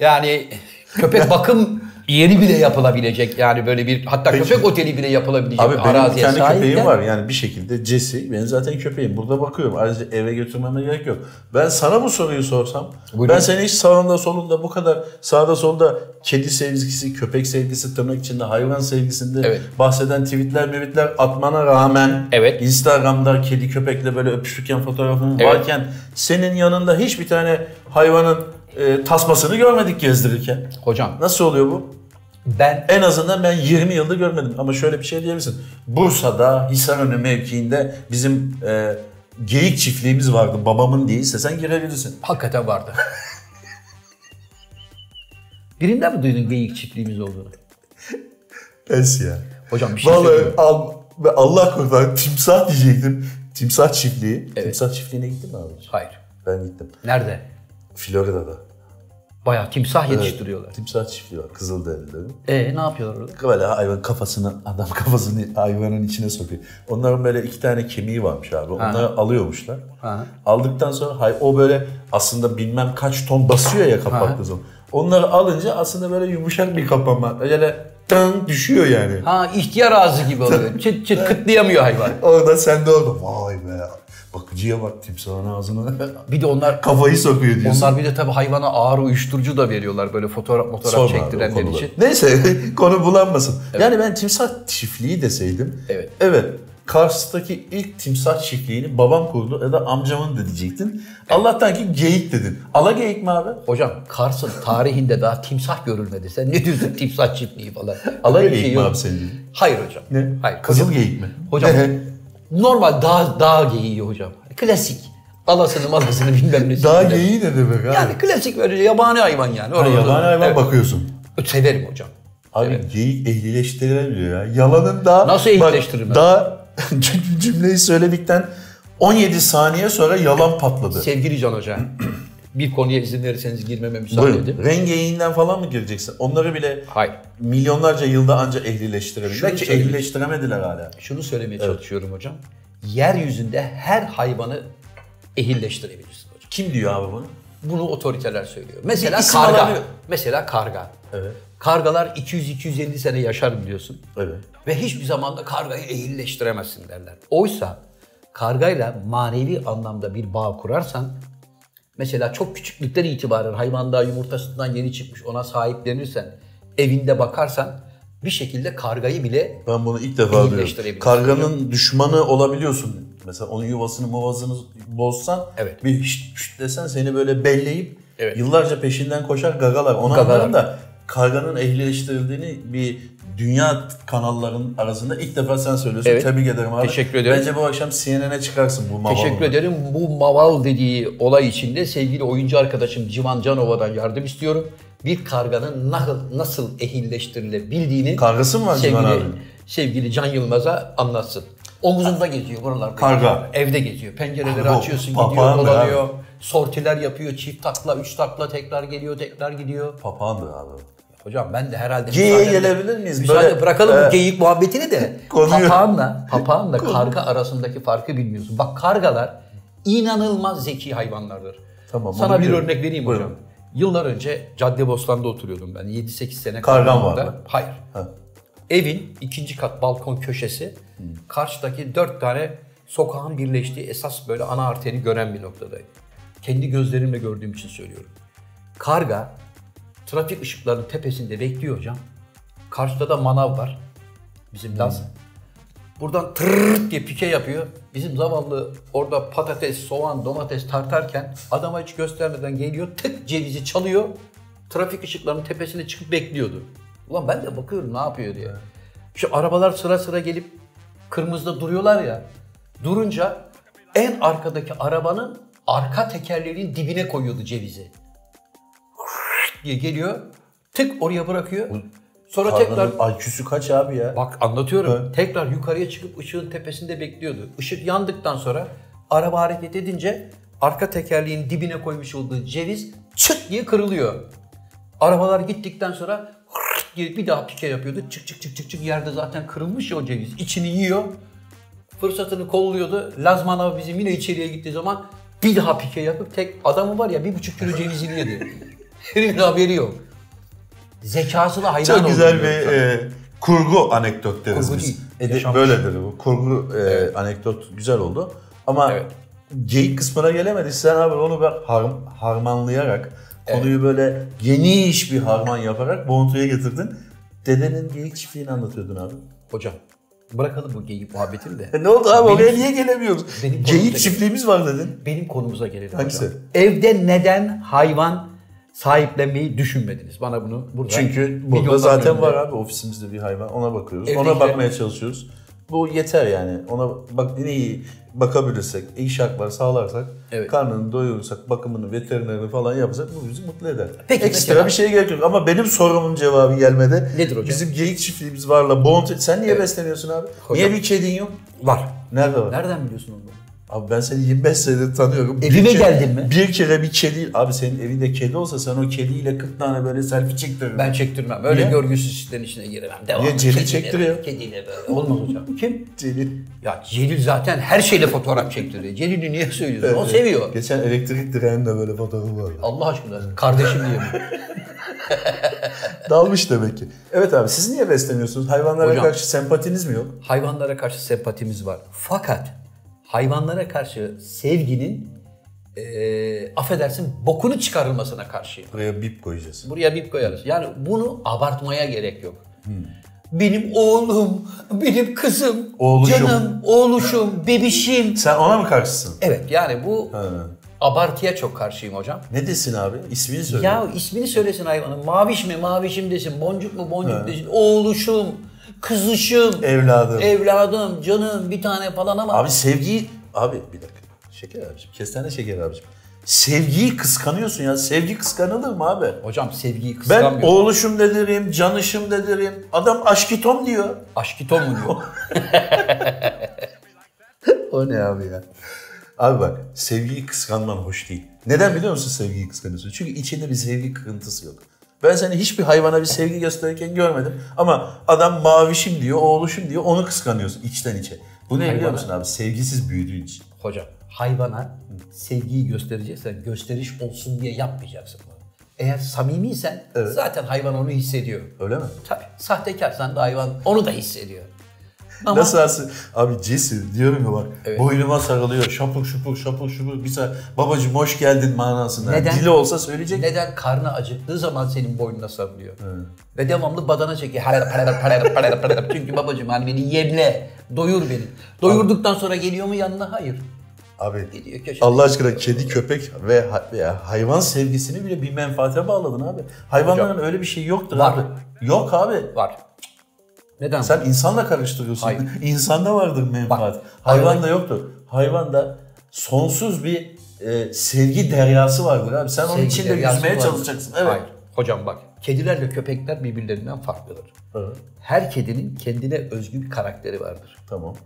[SPEAKER 1] Yani köpek bakım yeri bile yapılabilecek. Yani böyle bir hatta köpek oteli bile yapılabilecek
[SPEAKER 2] Abi
[SPEAKER 1] bir
[SPEAKER 2] benim bir
[SPEAKER 1] araziye
[SPEAKER 2] tane
[SPEAKER 1] sahipken-
[SPEAKER 2] köpeğim var yani bir şekilde Jesse benim zaten köpeğim burada bakıyorum ayrıca eve götürmeme gerek yok. Ben sana bu soruyu sorsam
[SPEAKER 1] Buyurun.
[SPEAKER 2] ben seni hiç sağında solunda bu kadar sağda solda kedi sevgisi, köpek sevgisi tırnak içinde hayvan sevgisinde
[SPEAKER 1] Evet.
[SPEAKER 2] bahseden tweetler mevitler atmana rağmen
[SPEAKER 1] Evet.
[SPEAKER 2] Instagram'da kedi köpekle böyle öpüşürken fotoğrafın
[SPEAKER 1] Evet.
[SPEAKER 2] varken senin yanında hiçbir tane hayvanın e, tasmasını görmedik gezdirirken.
[SPEAKER 1] Hocam
[SPEAKER 2] Nasıl oluyor bu?
[SPEAKER 1] ben
[SPEAKER 2] En azından ben 20 yılda görmedim ama şöyle bir şey diyebilirsin. Bursa'da Hisarönü mevkiinde bizim e, geyik çiftliğimiz vardı. Babamın değilse sen girebilirsin.
[SPEAKER 1] hakikaten vardı. Birinden mi duydun geyik çiftliğimiz olduğunu?
[SPEAKER 2] Es ya.
[SPEAKER 1] Hocam bir şey
[SPEAKER 2] Vallahi
[SPEAKER 1] söyleyeyim.
[SPEAKER 2] al- ve Allah korusun timsah diyecektim. Timsah çiftliği. Timsah çiftliğine gittin mi abi?
[SPEAKER 1] Hayır.
[SPEAKER 2] Ben gittim.
[SPEAKER 1] Nerede?
[SPEAKER 2] Florida'da.
[SPEAKER 1] Bayağı timsah yetiştiriyorlar.
[SPEAKER 2] Timsah çiftliği var. Kızılderililerin.
[SPEAKER 1] E ne yapıyorlar orada?
[SPEAKER 2] Böyle hayvan kafasını, adam kafasını hayvanın içine sokuyor. Onların böyle iki tane kemiği varmış abi. Onları alıyormuşlar.
[SPEAKER 1] Ha.
[SPEAKER 2] Aldıktan sonra hay- o böyle aslında bilmem kaç ton basıyor ya kapaklı zaman. Onları alınca aslında böyle yumuşak bir kapama. Öyle tan düşüyor yani.
[SPEAKER 1] Ha ihtiyar ağzı gibi oluyor. Çıt çıt kıtlayamıyor hayvan.
[SPEAKER 2] Orada sen de orada vay be bakıcıya bak timsahın ağzına
[SPEAKER 1] Bir de onlar
[SPEAKER 2] kafayı sokuyor diyorsun.
[SPEAKER 1] onlar bir de tabii hayvana ağır uyuşturucu da veriyorlar böyle fotoğraf fotoğraf
[SPEAKER 2] Sorma abi o
[SPEAKER 1] çektirenler
[SPEAKER 2] konuları.
[SPEAKER 1] için.
[SPEAKER 2] Neyse konu bulanmasın. Yani ben timsah çiftliği deseydim.
[SPEAKER 1] Evet.
[SPEAKER 2] Evet. Kars'taki ilk timsah çiftliğini babam kurdu ya da amcamın da diyecektin. Allah'tan ki geyik dedin. Ala geyik mi abi?
[SPEAKER 1] Hocam Kars'ın tarihinde daha timsah görülmedi. Sen ne diyorsun timsah çiftliği falan.
[SPEAKER 2] Ala
[SPEAKER 1] Öyle bir
[SPEAKER 2] geyik
[SPEAKER 1] şey
[SPEAKER 2] mi
[SPEAKER 1] yok.
[SPEAKER 2] abi senin? dediğin?
[SPEAKER 1] Hayır hocam.
[SPEAKER 2] Ne?
[SPEAKER 1] Hayır.
[SPEAKER 2] Kızıl geyik mi?
[SPEAKER 1] Hocam normal dağ, dağ geyiği hocam. Klasik. Alasını malasını bilmem ne.
[SPEAKER 2] Daha geyiği ne demek abi?
[SPEAKER 1] Yani klasik böyle yabani hayvan yani.
[SPEAKER 2] Ha,
[SPEAKER 1] Orada-
[SPEAKER 2] yabani hayvan
[SPEAKER 1] Evet.
[SPEAKER 2] bakıyorsun.
[SPEAKER 1] Severim hocam.
[SPEAKER 2] Abi geyik ehlileştirilemiyor ya. Yalanın daha...
[SPEAKER 1] Nasıl
[SPEAKER 2] bak,
[SPEAKER 1] ehlileştirilmez?
[SPEAKER 2] Daha cümleyi söyledikten 17 saniye sonra yalan patladı.
[SPEAKER 1] Sevgili Can Hoca. bir konuya izin verirseniz girmeme müsaade edin.
[SPEAKER 2] Buyurun. Rengeyiğinden falan mı gireceksin? Onları bile
[SPEAKER 1] Hayır.
[SPEAKER 2] milyonlarca yılda anca ehlileştirebilirler
[SPEAKER 1] Şunu
[SPEAKER 2] ki
[SPEAKER 1] söyleyeyim.
[SPEAKER 2] ehlileştiremediler hala.
[SPEAKER 1] Şunu söylemeye çalışıyorum hocam. Yeryüzünde her hayvanı ehilleştirebilirsin hocam.
[SPEAKER 2] Kim diyor abi bunu?
[SPEAKER 1] Bunu otoriteler söylüyor. Mesela
[SPEAKER 2] Bir isim
[SPEAKER 1] karga.
[SPEAKER 2] alamıyor.
[SPEAKER 1] Mesela karga.
[SPEAKER 2] Evet.
[SPEAKER 1] Kargalar 200-250 sene yaşar biliyorsun.
[SPEAKER 2] Evet.
[SPEAKER 1] Ve hiçbir zaman da kargayı ehilleştiremezsin derler. Oysa kargayla manevi anlamda bir bağ kurarsan mesela çok küçüklükten itibaren hayvan daha yumurtasından yeni çıkmış ona sahiplenirsen, evinde bakarsan bir şekilde kargayı bile
[SPEAKER 2] Ben bunu ilk defa duyuyorum.
[SPEAKER 1] Ehlileştirebilirsin.
[SPEAKER 2] Karganın düşmanı olabiliyorsun. Mesela onun yuvasını muvasını bozsan
[SPEAKER 1] Evet.
[SPEAKER 2] bir şşt şşt desen seni böyle belleyip
[SPEAKER 1] Evet.
[SPEAKER 2] yıllarca peşinden koşar gagalar. Onu
[SPEAKER 1] Gagalar.
[SPEAKER 2] anlarım da karganın ehlileştirildiğini bir dünya kanallarının arasında ilk defa sen söylüyorsun.
[SPEAKER 1] Evet.
[SPEAKER 2] Tebrik ederim abi.
[SPEAKER 1] Teşekkür ederim.
[SPEAKER 2] Bence bu akşam CNN'e çıkarsın bu mavalı.
[SPEAKER 1] Teşekkür ederim. Bu maval dediği olay içinde sevgili oyuncu arkadaşım Civan Canova'dan yardım istiyorum. Bir karganın nasıl, nasıl ehilleştirilebildiğini
[SPEAKER 2] Kargası mı var Civan
[SPEAKER 1] sevgili,
[SPEAKER 2] abinin?
[SPEAKER 1] sevgili Can Yılmaz'a anlatsın. Omuzunda geziyor buralarda.
[SPEAKER 2] Karga.
[SPEAKER 1] Evde geziyor. Pencereleri
[SPEAKER 2] Karga,
[SPEAKER 1] açıyorsun
[SPEAKER 2] papağan
[SPEAKER 1] gidiyor
[SPEAKER 2] be
[SPEAKER 1] dolanıyor. Sortiler yapıyor. Çift takla, üç takla tekrar geliyor tekrar gidiyor.
[SPEAKER 2] Papağandı abi.
[SPEAKER 1] Hocam ben de herhalde
[SPEAKER 2] Geyiğe
[SPEAKER 1] müsaade-
[SPEAKER 2] gelebilir miyiz?
[SPEAKER 1] Müsaade
[SPEAKER 2] Böyle- e,
[SPEAKER 1] bırakalım
[SPEAKER 2] Evet.
[SPEAKER 1] bu geyik muhabbetini de.
[SPEAKER 2] Konuyu-
[SPEAKER 1] Papağanla, papağanla karga arasındaki farkı bilmiyorsun. Bak kargalar inanılmaz zeki hayvanlardır.
[SPEAKER 2] Tamam, onu
[SPEAKER 1] Sana bir
[SPEAKER 2] biliyorum.
[SPEAKER 1] örnek vereyim
[SPEAKER 2] Buyurun.
[SPEAKER 1] hocam. Yıllar önce Caddebostan'da oturuyordum ben. 7-8 sene
[SPEAKER 2] Kargan
[SPEAKER 1] kaldım
[SPEAKER 2] var
[SPEAKER 1] orada.
[SPEAKER 2] mı?
[SPEAKER 1] Hayır.
[SPEAKER 2] Ha. Hmm.
[SPEAKER 1] Evin ikinci kat balkon köşesi karşıdaki dört tane sokağın birleştiği esas böyle ana arteri gören bir noktadaydı. Kendi gözlerimle gördüğüm için söylüyorum. Karga trafik ışıklarının tepesinde bekliyor hocam. Karşıda da manav var. Bizim dans. Buradan tırırt diye pike yapıyor. Bizim zavallı orada patates, soğan, domates tartarken adama hiç göstermeden geliyor tık cevizi çalıyor. Trafik ışıklarının tepesine çıkıp bekliyordu. Ulan ben de bakıyorum ne yapıyor diye. Şu arabalar sıra sıra gelip kırmızıda duruyorlar ya. Durunca en arkadaki arabanın arka tekerlerinin dibine koyuyordu cevizi. diye geliyor. Tık oraya bırakıyor. Sonra tekrar
[SPEAKER 2] Karganın IQ'su kaç abi ya?
[SPEAKER 1] Bak anlatıyorum. Tekrar yukarıya çıkıp ışığın tepesinde bekliyordu. Işık yandıktan sonra araba hareket edince arka tekerleğin dibine koymuş olduğu ceviz çıt diye kırılıyor. Arabalar gittikten sonra hırt diye bir daha pike yapıyordu. Çık çık çık çık çık yerde zaten kırılmış ya o ceviz. İçini yiyor. Fırsatını kolluyordu. Lazmanov bizim yine içeriye gittiği zaman bir daha pike yapıp tek adamı var ya bir buçuk kilo cevizini yedi. Herifin haberi yok. Zekası da hayran
[SPEAKER 2] Çok güzel
[SPEAKER 1] oldum.
[SPEAKER 2] bir e, kurgu anekdot deriz
[SPEAKER 1] Kurgu
[SPEAKER 2] biz.
[SPEAKER 1] değil,
[SPEAKER 2] E, de-
[SPEAKER 1] yaşanmış.
[SPEAKER 2] böyledir bu. Kurgu e, anekdot güzel oldu. Ama
[SPEAKER 1] Evet.
[SPEAKER 2] geyik kısmına gelemedik. Sen abi onu ben har- harmanlayarak, konuyu böyle geniş bir harman yaparak boğuntuya getirdin. Dedenin geyik çiftliğini anlatıyordun abi.
[SPEAKER 1] Hocam bırakalım bu geyik muhabbetini de.
[SPEAKER 2] E, ne oldu abi
[SPEAKER 1] Benim-
[SPEAKER 2] oraya niye gelemiyoruz?
[SPEAKER 1] Benim konumda
[SPEAKER 2] Geyik
[SPEAKER 1] gelelim.
[SPEAKER 2] çiftliğimiz var dedin.
[SPEAKER 1] Benim konumuza gelelim
[SPEAKER 2] Hangisi?
[SPEAKER 1] hocam. Evde neden hayvan sahiplenmeyi düşünmediniz? Bana bunu burada...
[SPEAKER 2] Çünkü burada
[SPEAKER 1] milyonların
[SPEAKER 2] zaten
[SPEAKER 1] önünde-
[SPEAKER 2] var abi ofisimizde bir hayvan. Ona bakıyoruz. Ona
[SPEAKER 1] Evdekiler-
[SPEAKER 2] bakmaya çalışıyoruz. Bu yeter yani. Ona bak ne iyi bakabilirsek, iyi şartlar sağlarsak,
[SPEAKER 1] Evet.
[SPEAKER 2] karnını doyurursak, bakımını, veterinerini falan yapsak bu bizi mutlu eder.
[SPEAKER 1] Peki
[SPEAKER 2] Ekstra
[SPEAKER 1] mesela-
[SPEAKER 2] bir şeye gerek yok ama benim sorumun cevabı gelmedi.
[SPEAKER 1] Nedir hocam?
[SPEAKER 2] Bizim geyik çiftliğimiz varla bond. Sen niye besleniyorsun abi?
[SPEAKER 1] Hocam-
[SPEAKER 2] Niye bir kedin yok?
[SPEAKER 1] Var.
[SPEAKER 2] Nerede var?
[SPEAKER 1] Nereden biliyorsun onu?
[SPEAKER 2] Abi ben seni 25 senedir tanıyorum.
[SPEAKER 1] Evime
[SPEAKER 2] Bir kere-
[SPEAKER 1] geldin mi?
[SPEAKER 2] Bir kere bir kedi... Abi senin evinde kedi olsa sen o kediyle 40 tane böyle selfie çektirdin.
[SPEAKER 1] Ben çektirmem. Öyle
[SPEAKER 2] Niye?
[SPEAKER 1] görgüsüz işlerin içine giremem. Devam.
[SPEAKER 2] Niye? Celil
[SPEAKER 1] Kediyle-
[SPEAKER 2] çektiriyor.
[SPEAKER 1] Kediyle böyle. Olmaz hocam. Kim?
[SPEAKER 2] Kedi.
[SPEAKER 1] Ya Celil zaten her şeyle fotoğraf çektiriyor. Celil'i niye söylüyorsun? O seviyor.
[SPEAKER 2] Geçen elektrik direğinde böyle fotoğrafı vardı.
[SPEAKER 1] Allah aşkına kardeşim diye mi?
[SPEAKER 2] Dalmış demek ki. Evet abi siz niye beslemiyorsunuz? Hayvanlara
[SPEAKER 1] Hocam.
[SPEAKER 2] karşı sempatiniz mi yok?
[SPEAKER 1] Hayvanlara karşı sempatimiz var. Fakat hayvanlara karşı sevginin eee affedersin bokunu çıkarılmasına karşıyım.
[SPEAKER 2] Buraya bip koyacağız.
[SPEAKER 1] Buraya bip koyarız. Yani bunu abartmaya gerek yok.
[SPEAKER 2] Hmm.
[SPEAKER 1] Benim oğlum, benim kızım,
[SPEAKER 2] Oğluşum.
[SPEAKER 1] canım, oğluşum, bebişim.
[SPEAKER 2] Sen ona mı karşısın?
[SPEAKER 1] Evet yani bu
[SPEAKER 2] Ha.
[SPEAKER 1] abartıya çok karşıyım hocam.
[SPEAKER 2] Ne desin abi? İsmini söyle.
[SPEAKER 1] Ya ismini söylesin hayvanın. Maviş mi mavişim desin, boncuk mu boncuk desin, oğluşum, kızışım,
[SPEAKER 2] Evladım.
[SPEAKER 1] evladım, canım bir tane falan ama
[SPEAKER 2] Abi sevgiyi... Abi bir dakika. Şeker abicim. Kestane şeker abicim. Sevgiyi kıskanıyorsun ya. Sevgi kıskanılır mı abi?
[SPEAKER 1] hocam sevgiyi
[SPEAKER 2] Ben
[SPEAKER 1] kıskanmıyorum.
[SPEAKER 2] oğluşum dedirim, canışım dedirim. Adam aşkitom diyor.
[SPEAKER 1] Aşkito mu diyor.
[SPEAKER 2] O ne abi ya? Abi bak sevgiyi kıskanman hoş değil. Neden biliyor musun sevgiyi kıskanıyorsun? Çünkü içinde bir sevgi kırıntısı yok. Ben seni hiçbir hayvana bir sevgi gösterirken görmedim. Ama adam mavişim diyor, oğluşum diyor. Onu kıskanıyorsun içten içe. Bu ne biliyor
[SPEAKER 1] Hayvana-
[SPEAKER 2] musun abi? Sevgisiz büyüdüğün için.
[SPEAKER 1] Hocam hayvana sevgiyi göstereceksen gösteriş olsun diye yapmayacaksın bunu. Eğer samimiysen zaten hayvan onu hissediyor.
[SPEAKER 2] Öyle mi?
[SPEAKER 1] Tabii sahtekarsan da hayvan onu da hissediyor. Ama
[SPEAKER 2] Nasıl asıl? Abi cesur diyorum ya bak. Boynuma sarılıyor. Şapuk şupuk şapuk şupuk. Bir sa- babacım hoş geldin manasında.
[SPEAKER 1] Neden?
[SPEAKER 2] Dili olsa söyleyecek.
[SPEAKER 1] neden karnı acıktığı zaman senin boynuna sarılıyor? Ve devamlı badana çekiyor. Harar, harar, harar, harar, harar. Çünkü babacığım hani beni yemle, doyur beni. Doyurduktan sonra geliyor mu yanına? Hayır.
[SPEAKER 2] Abi
[SPEAKER 1] Gidiyor köşede.
[SPEAKER 2] Allah aşkına kedi, köpek ve ha- veya hayvan sevgisini bile bir menfaate bağladın abi. Hayvanların öyle bir şey yoktur
[SPEAKER 1] Var.
[SPEAKER 2] abi. Yok abi.
[SPEAKER 1] Var. Neden?
[SPEAKER 2] Sen insanla karıştırıyorsun.
[SPEAKER 1] Hayır.
[SPEAKER 2] İnsanda vardır menfaat.
[SPEAKER 1] Bak,
[SPEAKER 2] Hayvanda yoktur. Hayvanda sonsuz bir e, sevgi deryası vardır abi. Sen onun
[SPEAKER 1] Sevgi
[SPEAKER 2] içinde
[SPEAKER 1] deryası
[SPEAKER 2] yüzmeye
[SPEAKER 1] var.
[SPEAKER 2] çalışacaksın. Evet.
[SPEAKER 1] Hayır. Hocam bak. Kedilerle köpekler birbirlerinden farklıdır.
[SPEAKER 2] Evet,
[SPEAKER 1] Her kedinin kendine özgü bir karakteri vardır.
[SPEAKER 2] Tamam.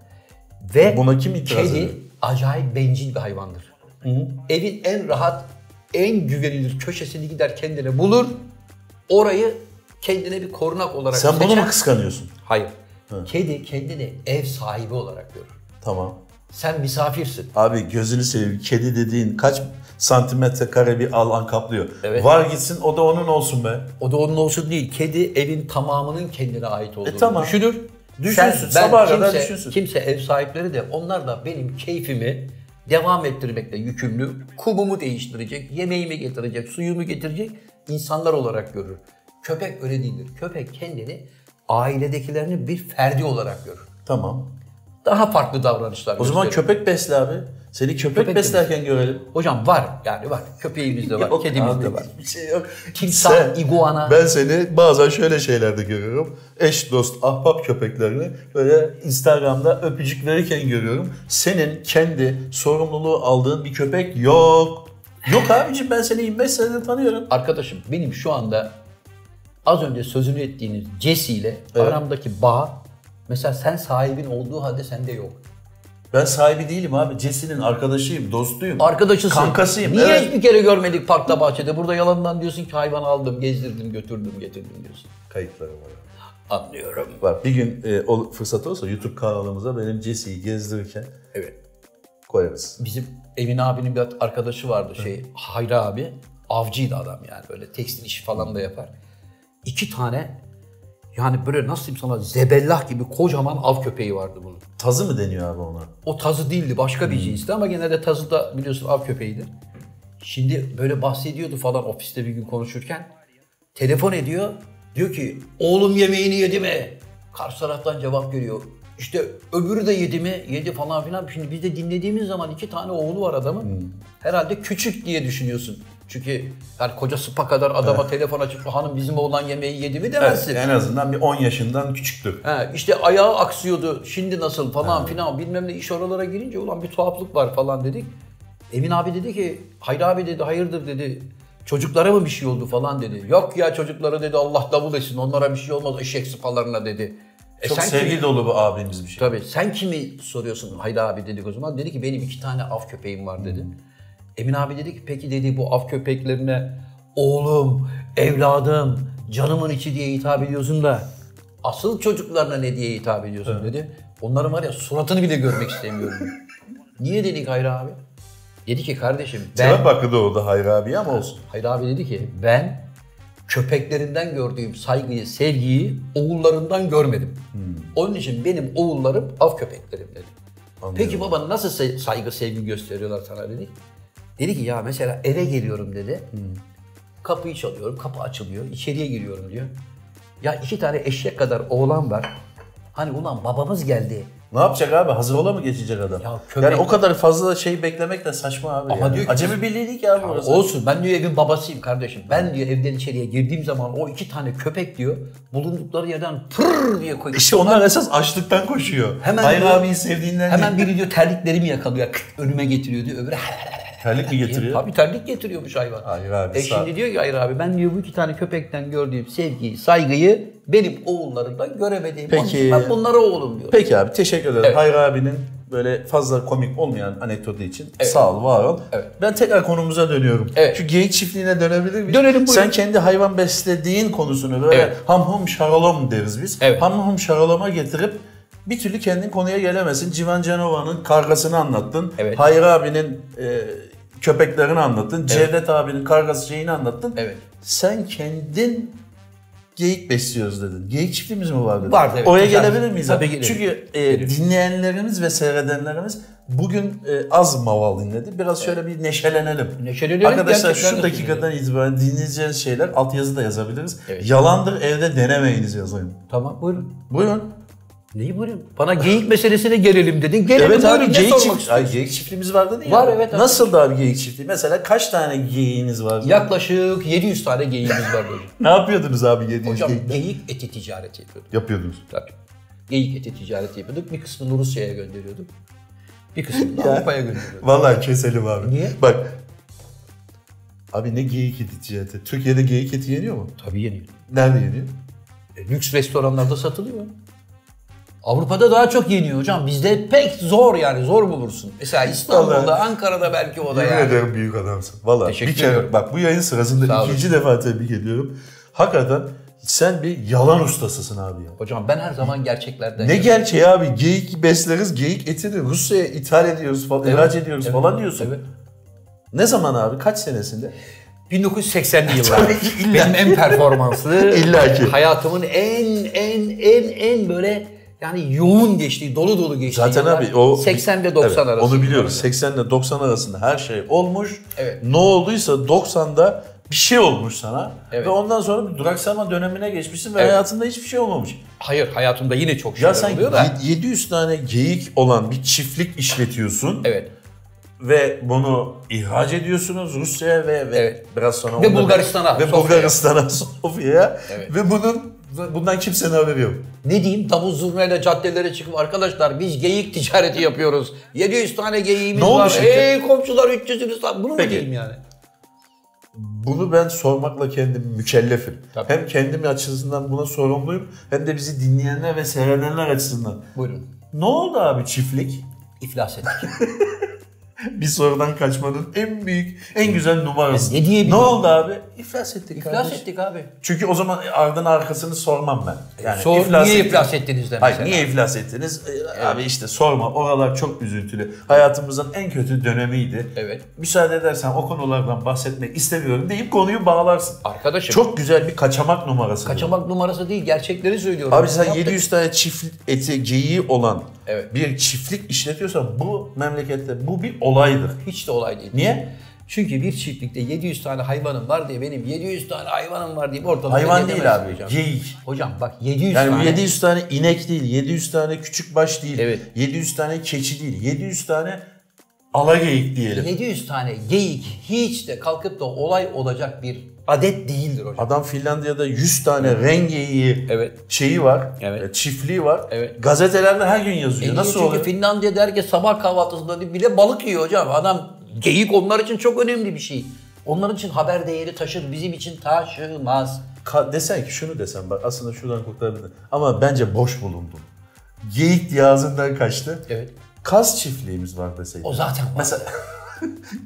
[SPEAKER 1] Ve
[SPEAKER 2] Buna kim itiraz
[SPEAKER 1] kedi
[SPEAKER 2] ediyor?
[SPEAKER 1] acayip bencil bir hayvandır. Evin en rahat, en güvenilir köşesini gider kendine bulur. Orayı kendine bir korunak olarak
[SPEAKER 2] Sen
[SPEAKER 1] seçer.
[SPEAKER 2] bunu mu kıskanıyorsun?
[SPEAKER 1] Hayır. Kedi kendini ev sahibi olarak görür.
[SPEAKER 2] Tamam.
[SPEAKER 1] Sen misafirsin.
[SPEAKER 2] Abi gözünü seveyim. Kedi dediğin kaç santimetre kare bir alan kaplıyor.
[SPEAKER 1] Evet.
[SPEAKER 2] Var gitsin o da onun olsun be.
[SPEAKER 1] O da onun olsun değil. Kedi evin tamamının kendine ait olduğunu
[SPEAKER 2] E, tamam.
[SPEAKER 1] düşünür.
[SPEAKER 2] Düşünsün,
[SPEAKER 1] ben,
[SPEAKER 2] sabaha kadar
[SPEAKER 1] kimse,
[SPEAKER 2] düşünsün.
[SPEAKER 1] Kimse ev sahipleri de onlar da benim keyfimi devam ettirmekle yükümlü. Kumumu değiştirecek, yemeğimi getirecek, suyumu getirecek insanlar olarak görür. Köpek öyle değildir. Köpek kendini ailedekilerini bir ferdi olarak görür.
[SPEAKER 2] Tamam.
[SPEAKER 1] Daha farklı davranışlar
[SPEAKER 2] O zaman
[SPEAKER 1] gösterir.
[SPEAKER 2] köpek besle abi. Seni köpek,
[SPEAKER 1] Köpek
[SPEAKER 2] beslerken görelim.
[SPEAKER 1] Hocam var yani var. Köpeğimiz de var, kedimiz de
[SPEAKER 2] Abi,
[SPEAKER 1] var.
[SPEAKER 2] Bir şey yok.
[SPEAKER 1] Timsah, iguana.
[SPEAKER 2] Ben seni bazen şöyle şeylerde görüyorum. Eş dost, ahbap köpeklerini böyle Instagram'da öpücük verirken görüyorum. Senin kendi sorumluluğu aldığın bir köpek yok. Yok abicim ben seni 25 senedir tanıyorum.
[SPEAKER 1] Arkadaşım benim şu anda az önce sözünü ettiğiniz Jesse ile aramdaki bağ mesela sen sahibin olduğu halde sende yok.
[SPEAKER 2] Ben sahibi değilim abi. Cesi'nin arkadaşıyım, dostuyum.
[SPEAKER 1] Arkadaşısın.
[SPEAKER 2] Kankasıyım,
[SPEAKER 1] Niye
[SPEAKER 2] evet.
[SPEAKER 1] hiçbir kere görmedik parkta bahçede? Burada yalandan diyorsun ki hayvan aldım, gezdirdim, götürdüm, getirdim diyorsun.
[SPEAKER 2] Kayıtları var.
[SPEAKER 1] Anlıyorum.
[SPEAKER 2] Var. Bir gün e, ol- fırsat olsa YouTube kanalımıza benim Cesi'yi gezdirirken
[SPEAKER 1] Evet.
[SPEAKER 2] koyarız.
[SPEAKER 1] Bizim Emin abinin bir arkadaşı vardı şey Hayri abi. Avcıydı adam yani böyle tekstil işi falan da yapar. İki tane yani böyle nasıl diyeyim sana zebellah gibi kocaman av köpeği vardı bunun.
[SPEAKER 2] Tazı mı deniyor abi ona?
[SPEAKER 1] O tazı değildi başka bir cinsti ama genelde tazı da biliyorsun av köpeğidir. Şimdi böyle bahsediyordu falan ofiste bir gün konuşurken. Telefon ediyor. Diyor ki oğlum yemeğini yedi mi? Karşı taraftan cevap geliyor. İşte öbürü de yedi mi? Yedi falan filan. Şimdi biz de dinlediğimiz zaman iki tane oğlu var adamın. Herhalde küçük diye düşünüyorsun. Çünkü yani koca sıpa kadar adama telefon açıp hanım bizim oğlan yemeği yedi mi demezsin.
[SPEAKER 2] En azından bir 10 yaşından küçüktür.
[SPEAKER 1] He, işte ayağı aksıyordu şimdi nasıl falan filan bilmem ne iş oralara girince ulan bir tuhaflık var falan dedik. Emin abi dedi ki Hayri abi dedi hayırdır dedi çocuklara mı bir şey oldu falan dedi. Yok ya çocuklara dedi Allah davul etsin onlara bir şey olmaz eşek sıpalarına dedi. E
[SPEAKER 2] Çok
[SPEAKER 1] sen kimi,
[SPEAKER 2] sevgi dolu bu abimiz bir şey.
[SPEAKER 1] tabii, sen kimi soruyorsun Hayri abi dedik o zaman. Dedi ki benim iki tane av köpeğim var dedi. Emin abi dedi ki peki dedi bu av köpeklerine oğlum, evladım, canımın içi diye hitap ediyorsun da asıl çocuklarına ne diye hitap ediyorsun dedi. Onların var ya suratını bile görmek istemiyorum. Niye dedik Hayri abi? Dedi ki kardeşim ben...
[SPEAKER 2] Cevap hakkı doğdu Hayri abi ama olsun.
[SPEAKER 1] Hayri abi dedi ki ben köpeklerinden gördüğüm saygıyı, sevgiyi oğullarından görmedim. Onun için benim oğullarım av köpeklerim dedi. Peki baba nasıl se- saygı, sevgi gösteriyorlar sana dedi. Dedi ki ya mesela eve geliyorum dedi. Kapıyı çalıyorum, kapı açılıyor, içeriye giriyorum diyor. Ya iki tane eşek kadar oğlan var. Hani ulan babamız geldi.
[SPEAKER 2] Ne yapacak abi? Hazır ola mı geçecek adam?
[SPEAKER 1] Ya köpek-
[SPEAKER 2] Yani o kadar fazla şey beklemek de saçma abi.
[SPEAKER 1] Ama
[SPEAKER 2] yani.
[SPEAKER 1] diyor ki-
[SPEAKER 2] Acemi birliği değil ki abi orası.
[SPEAKER 1] Olsun ben diyor evin babasıyım kardeşim. Ben diyor evden içeriye girdiğim zaman o iki tane köpek diyor bulundukları yerden pırr diye koyuyor.
[SPEAKER 2] İşte onlar esas açlıktan koşuyor.
[SPEAKER 1] Hemen
[SPEAKER 2] Hemen Hayır
[SPEAKER 1] diyor-
[SPEAKER 2] abiyi sevdiğinden
[SPEAKER 1] Hemen
[SPEAKER 2] hemen
[SPEAKER 1] biri diyor terliklerimi yakalıyor kıt önüme getiriyor diyor. Öbürü
[SPEAKER 2] terlik mi getiriyor?
[SPEAKER 1] Tabii terlik getiriyormuş hayvan.
[SPEAKER 2] Hayır abi,
[SPEAKER 1] E
[SPEAKER 2] sağ-
[SPEAKER 1] şimdi diyor ki hayır abi ben diyor bu iki tane köpekten gördüğüm sevgiyi, saygıyı benim oğullarımdan göremediğim. Onun
[SPEAKER 2] Peki.
[SPEAKER 1] için Ben bunlara oğlum diyorum.
[SPEAKER 2] Peki abi teşekkür ederim.
[SPEAKER 1] Evet.
[SPEAKER 2] Hayri abinin böyle fazla komik olmayan anekdotu için sağ ol, var ol.
[SPEAKER 1] Evet.
[SPEAKER 2] Ben tekrar konumumuza dönüyorum.
[SPEAKER 1] Evet.
[SPEAKER 2] Şu geyik çiftliğine dönebilir miyiz?
[SPEAKER 1] Dönelim, buyurun.
[SPEAKER 2] Sen kendi hayvan beslediğin konusunu böyle
[SPEAKER 1] Evet.
[SPEAKER 2] ham hum şaralom deriz biz.
[SPEAKER 1] Evet.
[SPEAKER 2] Ham hum şaraloma getirip bir türlü kendin konuya gelemesin. Civan Canova'nın kargasını anlattın.
[SPEAKER 1] Evet.
[SPEAKER 2] Hayri abinin e, köpeklerini anlattın. Cevdet abinin kargası şeyini anlattın.
[SPEAKER 1] Evet.
[SPEAKER 2] Sen kendin geyik besliyoruz dedin. Geyik çiftliğimiz mi var dedin?
[SPEAKER 1] Vardı, evet.
[SPEAKER 2] Oraya
[SPEAKER 1] Güzel.
[SPEAKER 2] gelebilir miyiz? abi?
[SPEAKER 1] Tabii gelelim.
[SPEAKER 2] Çünkü çünkü e, dinleyenlerimiz ve seyredenlerimiz bugün e, az maval dinledi. Biraz şöyle bir neşelenelim.
[SPEAKER 1] Neşelenelim,
[SPEAKER 2] Arkadaşlar
[SPEAKER 1] gerçekten
[SPEAKER 2] şu
[SPEAKER 1] neşelenelim.
[SPEAKER 2] dakikadan itibaren dinleyeceğiniz şeyler altyazı da yazabiliriz.
[SPEAKER 1] Evet.
[SPEAKER 2] Yalandır evde denemeyiniz yazayım.
[SPEAKER 1] Tamam buyurun.
[SPEAKER 2] Buyurun.
[SPEAKER 1] Neyi buyurun? Bana geyik meselesine gelelim dedin. Gelelim
[SPEAKER 2] evet
[SPEAKER 1] buyurun
[SPEAKER 2] abi
[SPEAKER 1] ne
[SPEAKER 2] geyik,
[SPEAKER 1] sormak
[SPEAKER 2] çift,
[SPEAKER 1] istiyorsun?
[SPEAKER 2] Ay, geyik çiftliğimiz vardı değil mi?
[SPEAKER 1] Var, evet abi.
[SPEAKER 2] Nasıl da abi geyik çiftliği? Mesela kaç tane geyiğiniz vardı?
[SPEAKER 1] Yaklaşık 700 tane geyiğimiz var böyle.
[SPEAKER 2] Ne yapıyordunuz abi yediğiniz
[SPEAKER 1] Hocam
[SPEAKER 2] geyikler?
[SPEAKER 1] geyik eti ticareti yapıyorduk.
[SPEAKER 2] Yapıyordunuz.
[SPEAKER 1] Tabii. Geyik eti ticareti yapıyorduk. Bir kısmını Rusya'ya gönderiyorduk. Bir kısmını da Avrupa'ya gönderiyorduk.
[SPEAKER 2] Vallahi keselim abi.
[SPEAKER 1] Niye?
[SPEAKER 2] Bak. Abi ne geyik eti ticareti? Türkiye'de geyik eti yeniyor mu?
[SPEAKER 1] Tabii yeniyor.
[SPEAKER 2] Nerede yeniyor?
[SPEAKER 1] E, lüks restoranlarda satılıyor. Avrupa'da daha çok yeniyor hocam. Bizde pek zor yani zor bulursun. Mesela İstanbul'da,
[SPEAKER 2] Vallahi.
[SPEAKER 1] Ankara'da belki o da
[SPEAKER 2] Yemin
[SPEAKER 1] yani.
[SPEAKER 2] ederim büyük adamsın. Valla
[SPEAKER 1] Teşekkür
[SPEAKER 2] bir kere
[SPEAKER 1] ediyorum.
[SPEAKER 2] bak bu yayın sırasında
[SPEAKER 1] Sağ olun.
[SPEAKER 2] ikinci defa tebrik ediyorum. Hakikaten sen bir yalan ustasısın abi ya.
[SPEAKER 1] Hocam ben her zaman gerçeklerden
[SPEAKER 2] Ne gerçeği abi geyik besleriz, geyik etini Rusya'ya ithal ediyoruz falan, ihraç ediyoruz falan diyorsun.
[SPEAKER 1] Evet.
[SPEAKER 2] Ne zaman abi? Kaç senesinde?
[SPEAKER 1] 1980'li yıllar.
[SPEAKER 2] Tabii ki illa
[SPEAKER 1] Benim en performanslı,
[SPEAKER 2] İlla ki.
[SPEAKER 1] hayatımın en en en en böyle yani yoğun geçtiği, dolu dolu geçtiği
[SPEAKER 2] Zaten
[SPEAKER 1] yıllar
[SPEAKER 2] abi o
[SPEAKER 1] 80 ve 90
[SPEAKER 2] Evet,
[SPEAKER 1] arası.
[SPEAKER 2] Onu biliyoruz. 80 ile 90 arasında her şey olmuş.
[SPEAKER 1] Evet.
[SPEAKER 2] Ne olduysa 90'da bir şey olmuş sana
[SPEAKER 1] Evet.
[SPEAKER 2] ve ondan sonra bir duraksama dönemine geçmişsin ve
[SPEAKER 1] Evet.
[SPEAKER 2] hayatında hiçbir şey olmamış.
[SPEAKER 1] Hayır, hayatımda yine çok şeyler
[SPEAKER 2] Ya sen
[SPEAKER 1] oluyor da.
[SPEAKER 2] yed- 700 tane geyik olan bir çiftlik işletiyorsun
[SPEAKER 1] Evet.
[SPEAKER 2] ve bunu ihraç ediyorsunuz Rusya'ya ve, ve
[SPEAKER 1] Evet.
[SPEAKER 2] biraz sonra
[SPEAKER 1] Ve
[SPEAKER 2] onda-
[SPEAKER 1] Bulgaristan'a,
[SPEAKER 2] ve
[SPEAKER 1] Sofya'ya.
[SPEAKER 2] Bulgaristan'a Sofya'ya
[SPEAKER 1] Evet.
[SPEAKER 2] ve bunun bundan kimsenin haberi yok.
[SPEAKER 1] Ne diyeyim davul zurnayla caddelere çıkıp arkadaşlar biz geyik ticareti yapıyoruz. 700 tane geyiğimiz
[SPEAKER 2] Ne oldu
[SPEAKER 1] var.
[SPEAKER 2] şirket?
[SPEAKER 1] Ey komşular 300'ünüz var. Bunu mu
[SPEAKER 2] Peki.
[SPEAKER 1] diyeyim yani?
[SPEAKER 2] Bunu ben sormakla kendim mükellefim.
[SPEAKER 1] Tabii.
[SPEAKER 2] Hem kendim açısından buna sorumluyum hem de bizi dinleyenler ve seyredenler açısından.
[SPEAKER 1] Buyurun.
[SPEAKER 2] Ne oldu abi çiftlik?
[SPEAKER 1] İflas ettik.
[SPEAKER 2] Bir sorudan kaçmanın en büyük, en güzel numarası.
[SPEAKER 1] Ya ne diyebilirim?
[SPEAKER 2] ne oldu abi? İflas ettik
[SPEAKER 1] iflas
[SPEAKER 2] kardeşim.
[SPEAKER 1] ettik abi.
[SPEAKER 2] Çünkü o zaman ardın arkasını sormam ben. Yani
[SPEAKER 1] Sor, niye
[SPEAKER 2] ettik.
[SPEAKER 1] iflas ettiniz de
[SPEAKER 2] Hayır
[SPEAKER 1] mesela.
[SPEAKER 2] niye iflas ettiniz? Ee, Abi işte sorma oralar çok üzüntülü. Hayatımızın en kötü dönemiydi.
[SPEAKER 1] Evet.
[SPEAKER 2] Müsaade edersen o konulardan bahsetmek istemiyorum deyip konuyu bağlarsın.
[SPEAKER 1] Arkadaşım
[SPEAKER 2] Çok güzel bir kaçamak numarası. bu.
[SPEAKER 1] kaçamak numarası değil gerçekleri söylüyorum.
[SPEAKER 2] Abi sen
[SPEAKER 1] Yaptık.
[SPEAKER 2] 700 tane çift eti geyiği olan
[SPEAKER 1] Evet.
[SPEAKER 2] bir çiftlik işletiyorsan bu memlekette bu bir olaydır.
[SPEAKER 1] Hiç de olay değil.
[SPEAKER 2] Niye?
[SPEAKER 1] Çünkü bir çiftlikte 700 tane hayvanım var diye benim 700 tane hayvanım var diye ortalığı
[SPEAKER 2] Hayvan değil
[SPEAKER 1] gezemezsin
[SPEAKER 2] abi.
[SPEAKER 1] Hocam.
[SPEAKER 2] Geyik.
[SPEAKER 1] Hocam bak 700
[SPEAKER 2] Yani
[SPEAKER 1] tane.
[SPEAKER 2] 700 tane inek değil, 700 tane küçük baş değil,
[SPEAKER 1] Evet.
[SPEAKER 2] 700 tane keçi değil, 700 tane alageyik diyelim.
[SPEAKER 1] 700 tane geyik hiç de kalkıp da olay olacak bir adet değildir hocam.
[SPEAKER 2] Adam Finlandiya'da 100 tane rengeyi
[SPEAKER 1] Evet.
[SPEAKER 2] şeyi var,
[SPEAKER 1] Evet.
[SPEAKER 2] e, çiftliği var.
[SPEAKER 1] Evet.
[SPEAKER 2] Gazetelerde her gün yazıyor. Nasıl
[SPEAKER 1] E Çünkü
[SPEAKER 2] oluyor?
[SPEAKER 1] Finlandiya'da herkes sabah kahvaltısında bile balık yiyor hocam. Adam geyik onlar için çok önemli bir şey. Onlar için haber değeri taşır, bizim için taşımaz.
[SPEAKER 2] Ka- desen ki şunu desen bak aslında şuradan kurtarabilirim. Ama bence boş bulundum. Geyik diye ağzından kaçtı.
[SPEAKER 1] Evet.
[SPEAKER 2] Kaz çiftliğimiz var deseydin.
[SPEAKER 1] O zaten var.
[SPEAKER 2] Mesela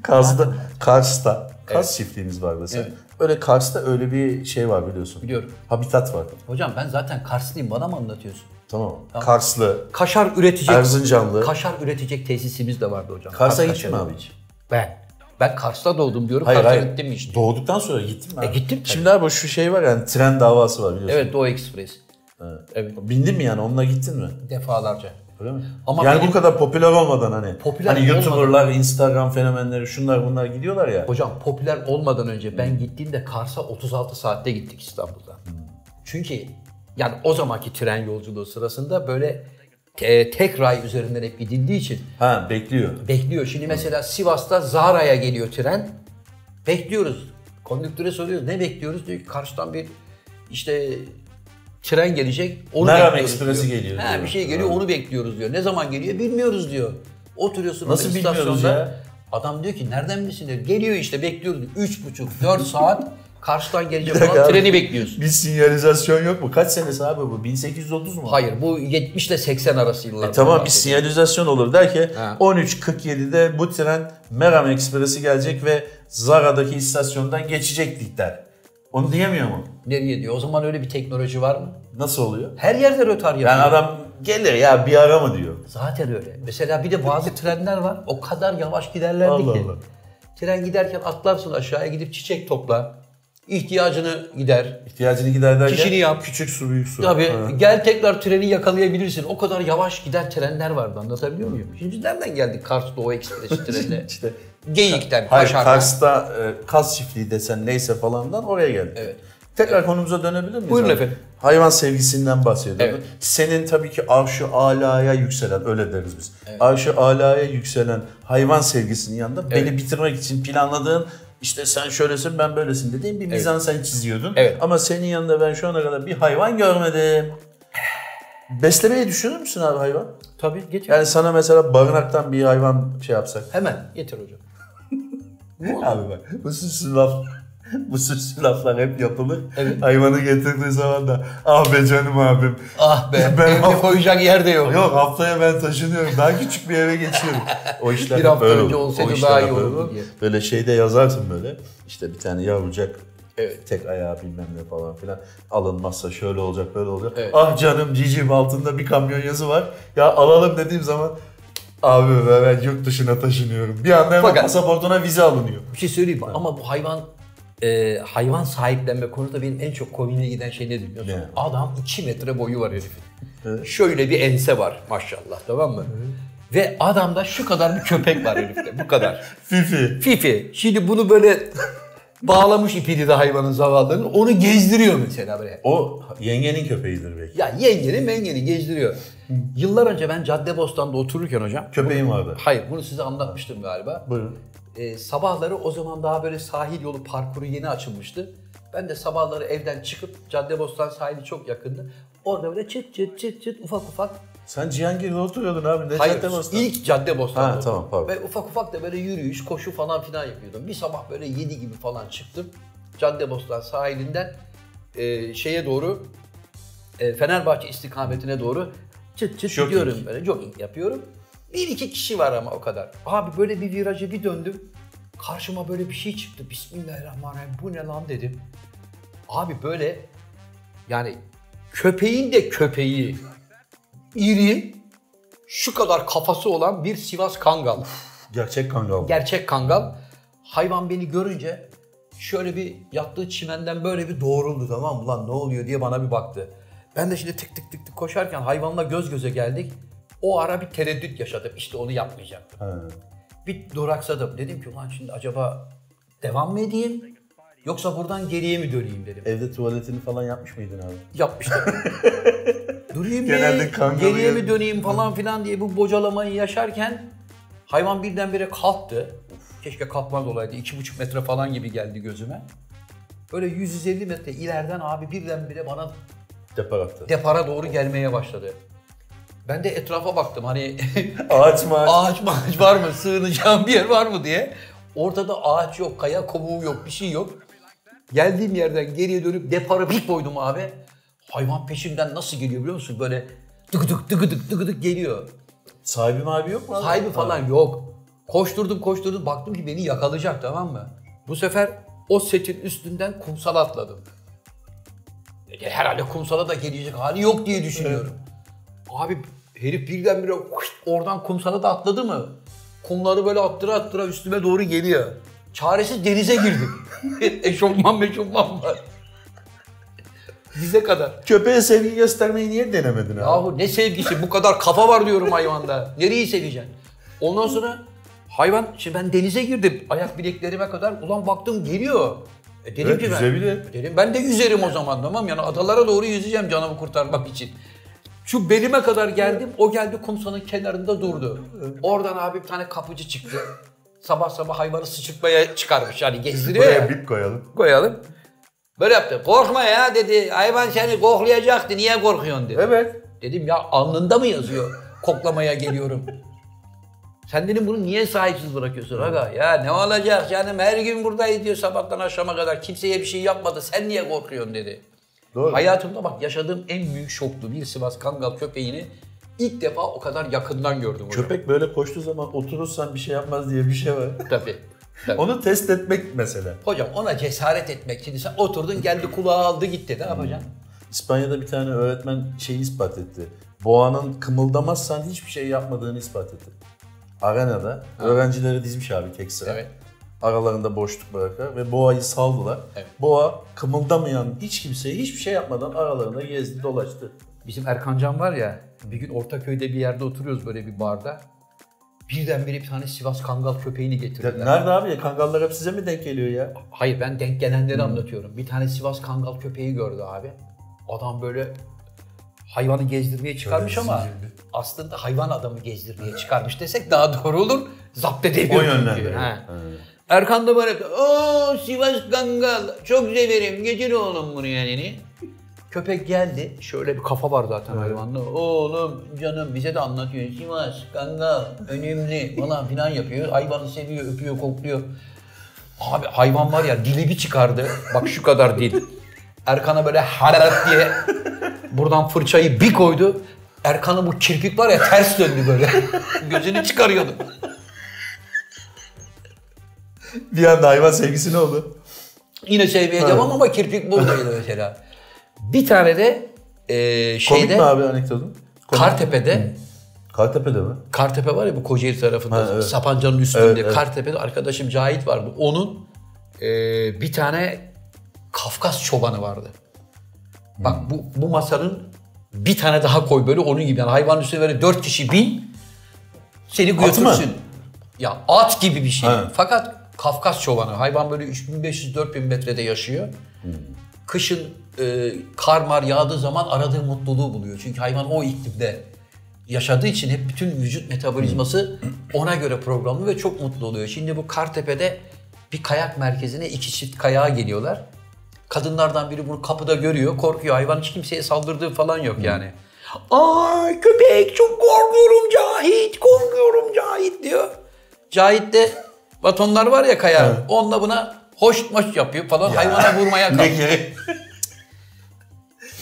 [SPEAKER 2] Kaz'da, Kars'ta Kaz çiftliğimiz var deseydin.
[SPEAKER 1] Evet.
[SPEAKER 2] Öyle Kars'ta öyle bir şey var biliyorsun.
[SPEAKER 1] Biliyorum.
[SPEAKER 2] Habitat var.
[SPEAKER 1] Hocam ben zaten Karslıyım bana mı anlatıyorsun?
[SPEAKER 2] Tamam. Karslı,
[SPEAKER 1] Kaşar üretecek
[SPEAKER 2] Erzincanlı.
[SPEAKER 1] kaşar üretecek tesisimiz de vardı hocam.
[SPEAKER 2] Kars'a
[SPEAKER 1] Kars
[SPEAKER 2] hiç mi
[SPEAKER 1] kaşarı.
[SPEAKER 2] abi hiç?
[SPEAKER 1] Ben. Ben Kars'ta doğdum diyorum.
[SPEAKER 2] Hayır
[SPEAKER 1] Kars'a
[SPEAKER 2] hayır.
[SPEAKER 1] gittim işte.
[SPEAKER 2] Doğduktan sonra gittim ben.
[SPEAKER 1] E, gittim tabii.
[SPEAKER 2] Şimdi abi şu şey var yani tren davası var biliyorsun.
[SPEAKER 1] evet Doğu Ekspres.
[SPEAKER 2] Evet. Bindin mi yani onunla gittin mi?
[SPEAKER 1] Defalarca.
[SPEAKER 2] Öyle mi?
[SPEAKER 1] Ama
[SPEAKER 2] yani
[SPEAKER 1] benim-
[SPEAKER 2] bu kadar popüler olmadan hani.
[SPEAKER 1] Popüler
[SPEAKER 2] hani
[SPEAKER 1] olmadan-
[SPEAKER 2] YouTuber'lar, Instagram fenomenleri şunlar bunlar gidiyorlar ya.
[SPEAKER 1] Hocam popüler olmadan önce ben gittiğimde Kars'a 36 saatte gittik İstanbul'dan. Çünkü yani o zamanki tren yolculuğu sırasında böyle te- tek ray üzerinden hep gidildiği için
[SPEAKER 2] Ha bekliyor.
[SPEAKER 1] bekliyor. Şimdi mesela Sivas'ta Zara'ya geliyor tren. Bekliyoruz. Konduktöre soruyoruz. Ne bekliyoruz? Diyor ki karşıdan bir işte tren gelecek. Onu
[SPEAKER 2] Meram
[SPEAKER 1] bekliyoruz
[SPEAKER 2] Ekspresi
[SPEAKER 1] diyor.
[SPEAKER 2] geliyor
[SPEAKER 1] Ha,
[SPEAKER 2] diyor.
[SPEAKER 1] bir şey geliyor onu bekliyoruz diyor. Ne zaman geliyor bilmiyoruz diyor. Oturuyorsun
[SPEAKER 2] Nasıl
[SPEAKER 1] orada
[SPEAKER 2] bilmiyoruz
[SPEAKER 1] istasyonda.
[SPEAKER 2] ya?
[SPEAKER 1] Adam diyor ki nereden bilsin diyor. Geliyor işte bekliyoruz. Üç buçuk, dört saat karşıdan gelecek
[SPEAKER 2] dakika
[SPEAKER 1] olan
[SPEAKER 2] abi.
[SPEAKER 1] treni bekliyorsun.
[SPEAKER 2] Bir sinyalizasyon yok mu? Kaç senesi abi bu? 1830 mu?
[SPEAKER 1] Hayır bu 70 ile 80 arası yıllar.
[SPEAKER 2] E tamam bir sinyalizasyon olur der ki
[SPEAKER 1] Ha.
[SPEAKER 2] 13.47'de bu tren Meram Ekspresi gelecek ve Zara'daki istasyondan geçecektik der. Onu diyemiyor mu?
[SPEAKER 1] Nereye diyor. O zaman öyle bir teknoloji var mı?
[SPEAKER 2] Nasıl oluyor?
[SPEAKER 1] Her yerde rötar yapıyor.
[SPEAKER 2] Yani adam gelir ya bir ara mı diyor.
[SPEAKER 1] Zaten öyle. Mesela bir de bazı trenler var. O kadar yavaş giderlerdi
[SPEAKER 2] Allah
[SPEAKER 1] ki.
[SPEAKER 2] Allah.
[SPEAKER 1] Tren giderken atlarsın aşağıya gidip çiçek topla. İhtiyacını gider.
[SPEAKER 2] İhtiyacını gider derken
[SPEAKER 1] Kişini yap.
[SPEAKER 2] küçük su büyük su.
[SPEAKER 1] Tabii
[SPEAKER 2] Ha.
[SPEAKER 1] gel tekrar treni yakalayabilirsin. O kadar yavaş giden trenler vardı anlatabiliyor muyum? Şimdi nereden geldik Kars Doğu Ekspresi trenine?
[SPEAKER 2] İşte
[SPEAKER 1] Geyik'ten,
[SPEAKER 2] hayır
[SPEAKER 1] Paşar'dan.
[SPEAKER 2] Kars'ta e, kas çiftliği desen neyse falandan oraya geldik.
[SPEAKER 1] Evet.
[SPEAKER 2] Tekrar konumuza dönebilir miyiz?
[SPEAKER 1] Buyurun
[SPEAKER 2] abi?
[SPEAKER 1] efendim.
[SPEAKER 2] Hayvan sevgisinden bahsediyorduk.
[SPEAKER 1] Evet.
[SPEAKER 2] Senin tabii ki arşı alaya yükselen, öyle deriz biz. Arşı alaya yükselen hayvan sevgisinin yanında beni bitirmek için planladığın işte sen şöylesin ben böylesin dediğin bir mizansen çiziyordun.
[SPEAKER 1] Evet.
[SPEAKER 2] Ama senin yanında ben şu ana kadar bir hayvan görmedim. Beslemeyi düşünür müsün abi hayvan?
[SPEAKER 1] Tabii getir.
[SPEAKER 2] Yani sana mesela barınaktan bir hayvan şey yapsak.
[SPEAKER 1] Hemen getir hocam.
[SPEAKER 2] Abi bak bu süslü laf bu süslü laflar hep yapılır.
[SPEAKER 1] Evet.
[SPEAKER 2] Hayvanı getirdiği zaman da ah be canım abim.
[SPEAKER 1] Ah be.
[SPEAKER 2] Ben-
[SPEAKER 1] evde koyacak yer de yok.
[SPEAKER 2] Yok haftaya ben taşınıyorum. Daha küçük bir eve geçiyorum. O işler
[SPEAKER 1] Bir
[SPEAKER 2] hep
[SPEAKER 1] hafta
[SPEAKER 2] böyle
[SPEAKER 1] önce
[SPEAKER 2] olur.
[SPEAKER 1] olsaydı
[SPEAKER 2] O işler
[SPEAKER 1] daha
[SPEAKER 2] hep
[SPEAKER 1] iyi
[SPEAKER 2] böyle
[SPEAKER 1] olurdu
[SPEAKER 2] olur.
[SPEAKER 1] diye.
[SPEAKER 2] Böyle şeyde yazarsın böyle. İşte bir tane yavrucak
[SPEAKER 1] Evet.
[SPEAKER 2] tek ayağı bilmem ne falan filan alınmazsa şöyle olacak böyle olacak.
[SPEAKER 1] Evet.
[SPEAKER 2] Ah canım cicim altında bir kamyon yazı var. Ya alalım dediğim zaman abi be ben yurt dışına taşınıyorum. Bir anda hemen
[SPEAKER 1] Fakat-
[SPEAKER 2] pasaportuna vize alınıyor.
[SPEAKER 1] Bir şey söyleyeyim mi? Ama bu hayvan e, hayvan sahiplenme konuda benim en çok komiğime giden şey nedir biliyor musun?
[SPEAKER 2] Ne?
[SPEAKER 1] Adam 2 metre boyu var herifin.
[SPEAKER 2] Evet.
[SPEAKER 1] Şöyle bir ense var maşallah tamam mı? Ve adamda şu kadar bir köpek var herifte bu kadar.
[SPEAKER 2] Fifi.
[SPEAKER 1] Fifi şimdi bunu böyle bağlamış ipini de hayvanın zavallının onu gezdiriyor mesela böyle.
[SPEAKER 2] O yengenin köpeğidir belki.
[SPEAKER 1] Ya yengeni mengeni gezdiriyor. Yıllar önce ben Caddebostan'da otururken hocam.
[SPEAKER 2] Köpeğim vardı.
[SPEAKER 1] Hayır bunu size anlatmıştım galiba.
[SPEAKER 2] Buyurun.
[SPEAKER 1] E, sabahları o zaman daha böyle sahil yolu parkuru yeni açılmıştı. Ben de sabahları evden çıkıp Caddebostan sahili çok yakındı. Orada böyle çıt çıt çıt çıt ufak ufak.
[SPEAKER 2] Sen Cihangir'de oturuyordun abi. Ne
[SPEAKER 1] Hayır,
[SPEAKER 2] cadde bastın?
[SPEAKER 1] ilk Caddebostan'da.
[SPEAKER 2] Ha, tamam, pardon.
[SPEAKER 1] Ve ufak ufak da böyle yürüyüş, koşu falan filan yapıyordum. Bir sabah böyle 7 gibi falan çıktım. Caddebostan sahilinden e, şeye doğru, e, Fenerbahçe istikametine doğru çıt çıt
[SPEAKER 2] Jogging.
[SPEAKER 1] gidiyorum böyle. Jogging yapıyorum. Bir iki kişi var ama o kadar. Abi böyle bir viraja bir döndüm. Karşıma böyle bir şey çıktı. Bismillahirrahmanirrahim bu ne lan dedim. Abi böyle yani köpeğin de köpeği iri şu kadar kafası olan bir Sivas Kangal.
[SPEAKER 2] Gerçek kangal.
[SPEAKER 1] Gerçek Kangal. Hayvan beni görünce şöyle bir yattığı çimenden böyle bir doğruldu tamam mı lan ne oluyor diye bana bir baktı. Ben de şimdi tık tık tık tık koşarken hayvanla göz göze geldik. O ara bir tereddüt yaşadım. İşte onu yapmayacaktım
[SPEAKER 2] Ha.
[SPEAKER 1] bir duraksadım. Dedim ki ulan şimdi acaba devam mı edeyim yoksa buradan geriye mi döneyim dedim.
[SPEAKER 2] Evde tuvaletini falan yapmış mıydın abi?
[SPEAKER 1] Yapmıştım. Durayım mı,
[SPEAKER 2] Genelde kangalı
[SPEAKER 1] geriye
[SPEAKER 2] yer-
[SPEAKER 1] mi döneyim falan filan diye bu bocalamayı yaşarken hayvan birdenbire kalktı. Uf, keşke kalkmaz olaydı. İki buçuk metre falan gibi geldi gözüme. Böyle 150 metre ileriden abi birdenbire bana
[SPEAKER 2] Depar attı.
[SPEAKER 1] depara doğru gelmeye başladı. Ben de etrafa baktım hani
[SPEAKER 2] Ağaç mı ağaç?
[SPEAKER 1] ağaç mağaç var mı? Sığınacağım bir yer var mı diye. Ortada ağaç yok, kaya kovuğu yok, bir şey yok. Geldiğim yerden geriye dönüp depara bir koydum abi. Hayvan peşimden nasıl geliyor biliyor musun? Böyle tıkıdık tıkıdık tıkıdık geliyor.
[SPEAKER 2] Sahibi mahibi yok mu abi?
[SPEAKER 1] Sahibi
[SPEAKER 2] Ha.
[SPEAKER 1] falan yok. Koşturdum koşturdum baktım ki beni yakalayacak tamam mı? Bu sefer o setin üstünden kumsala atladım. E, Herhalde kumsala da gelecek hali yok diye düşünüyorum. Abi herif birdenbire kuş, oradan kumsala da atladı mı? Kumları böyle attıra attıra üstüme doğru geliyor. Çaresiz denize girdim. eşofman meşofman var. Dize kadar.
[SPEAKER 2] Köpeğe sevgi göstermeyi niye denemedin abi?
[SPEAKER 1] Yahu ne sevgisi bu kadar kafa var diyorum hayvanda. Nereyi seveceksin? Ondan sonra hayvan şimdi ben denize girdim. Ayak bileklerime kadar ulan baktım geliyor. E dedim
[SPEAKER 2] Evet,
[SPEAKER 1] ki ben,
[SPEAKER 2] yüzebilir.
[SPEAKER 1] dedim ben de yüzerim o zaman tamam yani adalara doğru yüzeceğim canımı kurtarmak için. Şu belime kadar geldim o geldi kumsanın kenarında durdu. Oradan abi bir tane kapıcı çıktı. Sabah sabah hayvanı sıçırtmaya çıkarmış yani gezdiriyor ya
[SPEAKER 2] Buraya bip koyalım.
[SPEAKER 1] koyalım. Böyle yaptı. Korkma ya dedi. Hayvan seni koklayacaktı. Niye korkuyorsun dedi.
[SPEAKER 2] Evet.
[SPEAKER 1] Dedim ya alnında mı yazıyor? Koklamaya geliyorum. Sen dedim bunu niye sahipsiz bırakıyorsun aga? Ya ne olacak canım her gün buradayız diyor sabahtan akşama kadar. Kimseye bir şey yapmadı. Sen niye korkuyorsun dedi.
[SPEAKER 2] Doğru.
[SPEAKER 1] Hayatımda bak yaşadığım en büyük şoktu. Bir Sivas Kangal köpeğini ilk defa o kadar yakından gördüm. hocam.
[SPEAKER 2] Köpek böyle koştuğu zaman oturursan bir şey yapmaz diye bir şey var.
[SPEAKER 1] Tabii. Tabii.
[SPEAKER 2] Onu test etmek mesela.
[SPEAKER 1] Hocam ona cesaret etmek için sen oturdun geldi kulağı aldı gitti. Ne yapacaksın?
[SPEAKER 2] İspanya'da bir tane öğretmen şeyi ispat etti. Boğanın kımıldamazsan hiçbir şey yapmadığını ispat etti. Arenada öğrencileri dizmiş abi tek sıra.
[SPEAKER 1] Evet.
[SPEAKER 2] Aralarında boşluk bırakır ve boğayı saldılar.
[SPEAKER 1] Evet.
[SPEAKER 2] Boğa kımıldamayan hiç kimseye hiçbir şey yapmadan aralarında gezdi dolaştı.
[SPEAKER 1] Bizim Erkancan var ya, bir gün Ortaköy'de bir yerde oturuyoruz böyle bir barda. Birdenbire bir tane Sivas Kangal köpeğini
[SPEAKER 2] Ya
[SPEAKER 1] getirdiler.
[SPEAKER 2] Nerede abi ya? Kangallar hep size mi Hmm. denk geliyor ya?
[SPEAKER 1] Hayır ben denk gelenleri anlatıyorum. Bir tane Sivas Kangal köpeği gördü abi. Adam böyle hayvanı gezdirmeye çıkarmış
[SPEAKER 2] Şöyle
[SPEAKER 1] ama
[SPEAKER 2] zincirli.
[SPEAKER 1] aslında hayvan adamı gezdirmeye çıkarmış desek daha doğru olur. Zapt edemiyor
[SPEAKER 2] O yönden
[SPEAKER 1] çünkü.
[SPEAKER 2] de.
[SPEAKER 1] He.
[SPEAKER 2] Evet.
[SPEAKER 1] Erkan da bana "Oo Sivas Kangal çok severim. Getir oğlum bunu yani." Hani Köpek geldi. Şöyle bir kafa var zaten hayvanda. Oğlum canım bize de anlatıyor. Sivas Kangal önemli falan filan yapıyor. Hayvanı seviyor, öpüyor, kokluyor. Abi hayvan var ya dili bir çıkardı. Bak şu kadar dil. Erkan'a böyle hararat diye buradan fırçayı bir koydu. Erkan'ın bu kirpik var ya ters döndü böyle. Gözünü çıkarıyordu.
[SPEAKER 2] Bir anda hayvan sevgisi ne oldu?
[SPEAKER 1] Yine sevmeye devam ama kirpik buradaydı mesela. Bir tane de e,
[SPEAKER 2] Komik mi
[SPEAKER 1] şeyde
[SPEAKER 2] abi anekdotun? Komik.
[SPEAKER 1] Kartepe'de
[SPEAKER 2] Kartepe'de mi?
[SPEAKER 1] Kartepe var ya bu Kocaeli tarafında
[SPEAKER 2] Ha, evet.
[SPEAKER 1] Sapanca'nın üstünde
[SPEAKER 2] Evet, evet.
[SPEAKER 1] Kartepe'de arkadaşım Cahit vardı. Onun e, bir tane Kafkas çobanı vardı.
[SPEAKER 2] Hmm.
[SPEAKER 1] Bak bu, bu masanın bir tane daha koy böyle onun gibi. Yani hayvanın üstüne böyle dört kişi bin seni
[SPEAKER 2] At mı?
[SPEAKER 1] götürsün. Ya at gibi bir şey.
[SPEAKER 2] Ha.
[SPEAKER 1] Fakat Kafkas çobanı hayvan böyle 3500-4000 metrede yaşıyor.
[SPEAKER 2] Hmm.
[SPEAKER 1] Kışın e, kar mar yağdığı zaman aradığı mutluluğu buluyor. Çünkü hayvan o iklimde yaşadığı için hep bütün vücut metabolizması ona göre programlı ve çok mutlu oluyor. Şimdi bu Kartepe'de bir kayak merkezine iki çift kayağa geliyorlar. Kadınlardan biri bunu kapıda görüyor, korkuyor. Hayvan hiç kimseye saldırdığı falan yok yani. Ay köpek çok korkuyorum Cahit, korkuyorum Cahit diyor. Cahit de batonlar var ya kayar. Onunla buna hoş moş yapıyor falan. Hayvana vurmaya kalkıyor.
[SPEAKER 2] gerek?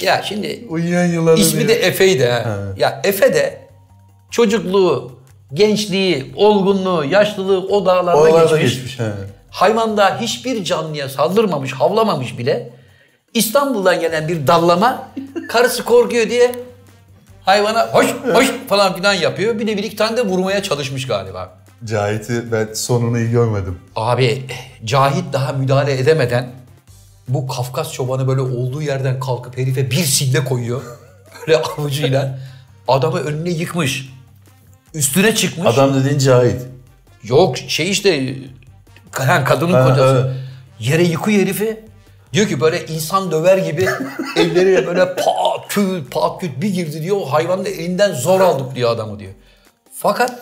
[SPEAKER 1] Ya şimdi
[SPEAKER 2] Uyuyan yılanı
[SPEAKER 1] İsmi de Efe'ydi ha. Ya Efe de çocukluğu, gençliği, olgunluğu, yaşlılığı o dağlarda
[SPEAKER 2] Oralarda
[SPEAKER 1] geçmiş.
[SPEAKER 2] geçmiş. he.
[SPEAKER 1] Hayvanda hiçbir canlıya saldırmamış, havlamamış bile. İstanbul'dan gelen bir dallama karısı korkuyor diye hayvana hoş hoş falan filan yapıyor. Bir de bir iki tane de vurmaya çalışmış galiba.
[SPEAKER 2] Cahit'i ben sonunu iyi görmedim.
[SPEAKER 1] Abi Cahit daha müdahale edemeden bu Kafkas çobanı böyle olduğu yerden kalkıp herife bir sille koyuyor. Böyle avucuyla. Adamı önüne yıkmış. Üstüne çıkmış.
[SPEAKER 2] Adam dediğin Cahit.
[SPEAKER 1] Yok şey işte ha, kadının
[SPEAKER 2] Ha,
[SPEAKER 1] kocası. Yere yıkıyor herifi. Diyor ki böyle insan döver gibi elleriyle böyle pat küt pat küt bir girdi diyor. O hayvanı da elinden zor aldık diyor adamı diyor. Fakat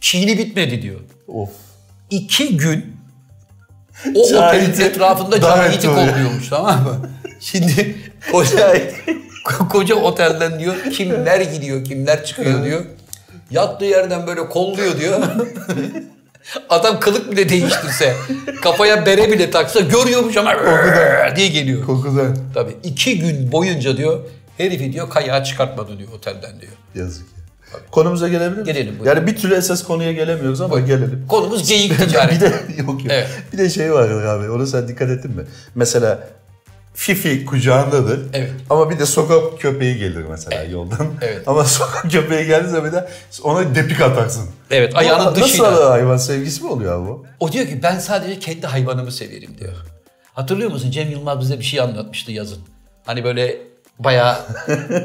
[SPEAKER 1] çiğni bitmedi diyor.
[SPEAKER 2] Of.
[SPEAKER 1] iki gün o
[SPEAKER 2] Cahit'i
[SPEAKER 1] otelin etrafında
[SPEAKER 2] davet
[SPEAKER 1] Cahit'i
[SPEAKER 2] oluyor.
[SPEAKER 1] kokluyormuş tamam mı? Şimdi koca, koca otelden diyor kimler gidiyor kimler çıkıyor diyor. Yattığı yerden böyle kolluyor diyor. Adam kılık bile değiştirse, kafaya bere bile taksa görüyormuş ama diye geliyor.
[SPEAKER 2] Kokudan.
[SPEAKER 1] Tabii iki gün boyunca diyor herifi diyor kayağa çıkartmadı diyor otelden diyor.
[SPEAKER 2] Yazık ya. Konumuza gelebilir miyiz?
[SPEAKER 1] Gelelim, buyurun.
[SPEAKER 2] Yani bir türlü esas konuya gelemiyoruz ama gelelim.
[SPEAKER 1] Konumuz geyik
[SPEAKER 2] bir
[SPEAKER 1] ticareti.
[SPEAKER 2] de yok yok.
[SPEAKER 1] Evet.
[SPEAKER 2] Bir de şey var abi. Ona sen dikkat ettin mi? Mesela Fifi kucağındadır.
[SPEAKER 1] Evet.
[SPEAKER 2] Ama bir de sokak köpeği gelir mesela yoldan.
[SPEAKER 1] Evet.
[SPEAKER 2] Ama sokak köpeği geldiği zaman bir de ona depik atarsın.
[SPEAKER 1] Evet,
[SPEAKER 2] Bu
[SPEAKER 1] ayağının
[SPEAKER 2] nasıl
[SPEAKER 1] dışıyla.
[SPEAKER 2] Nasıl hayvan sevgisi mi oluyor abi bu?
[SPEAKER 1] O diyor ki ben sadece kendi hayvanımı severim diyor. Hatırlıyor musun Cem Yılmaz bize bir şey anlatmıştı yazın. Hani böyle bayağı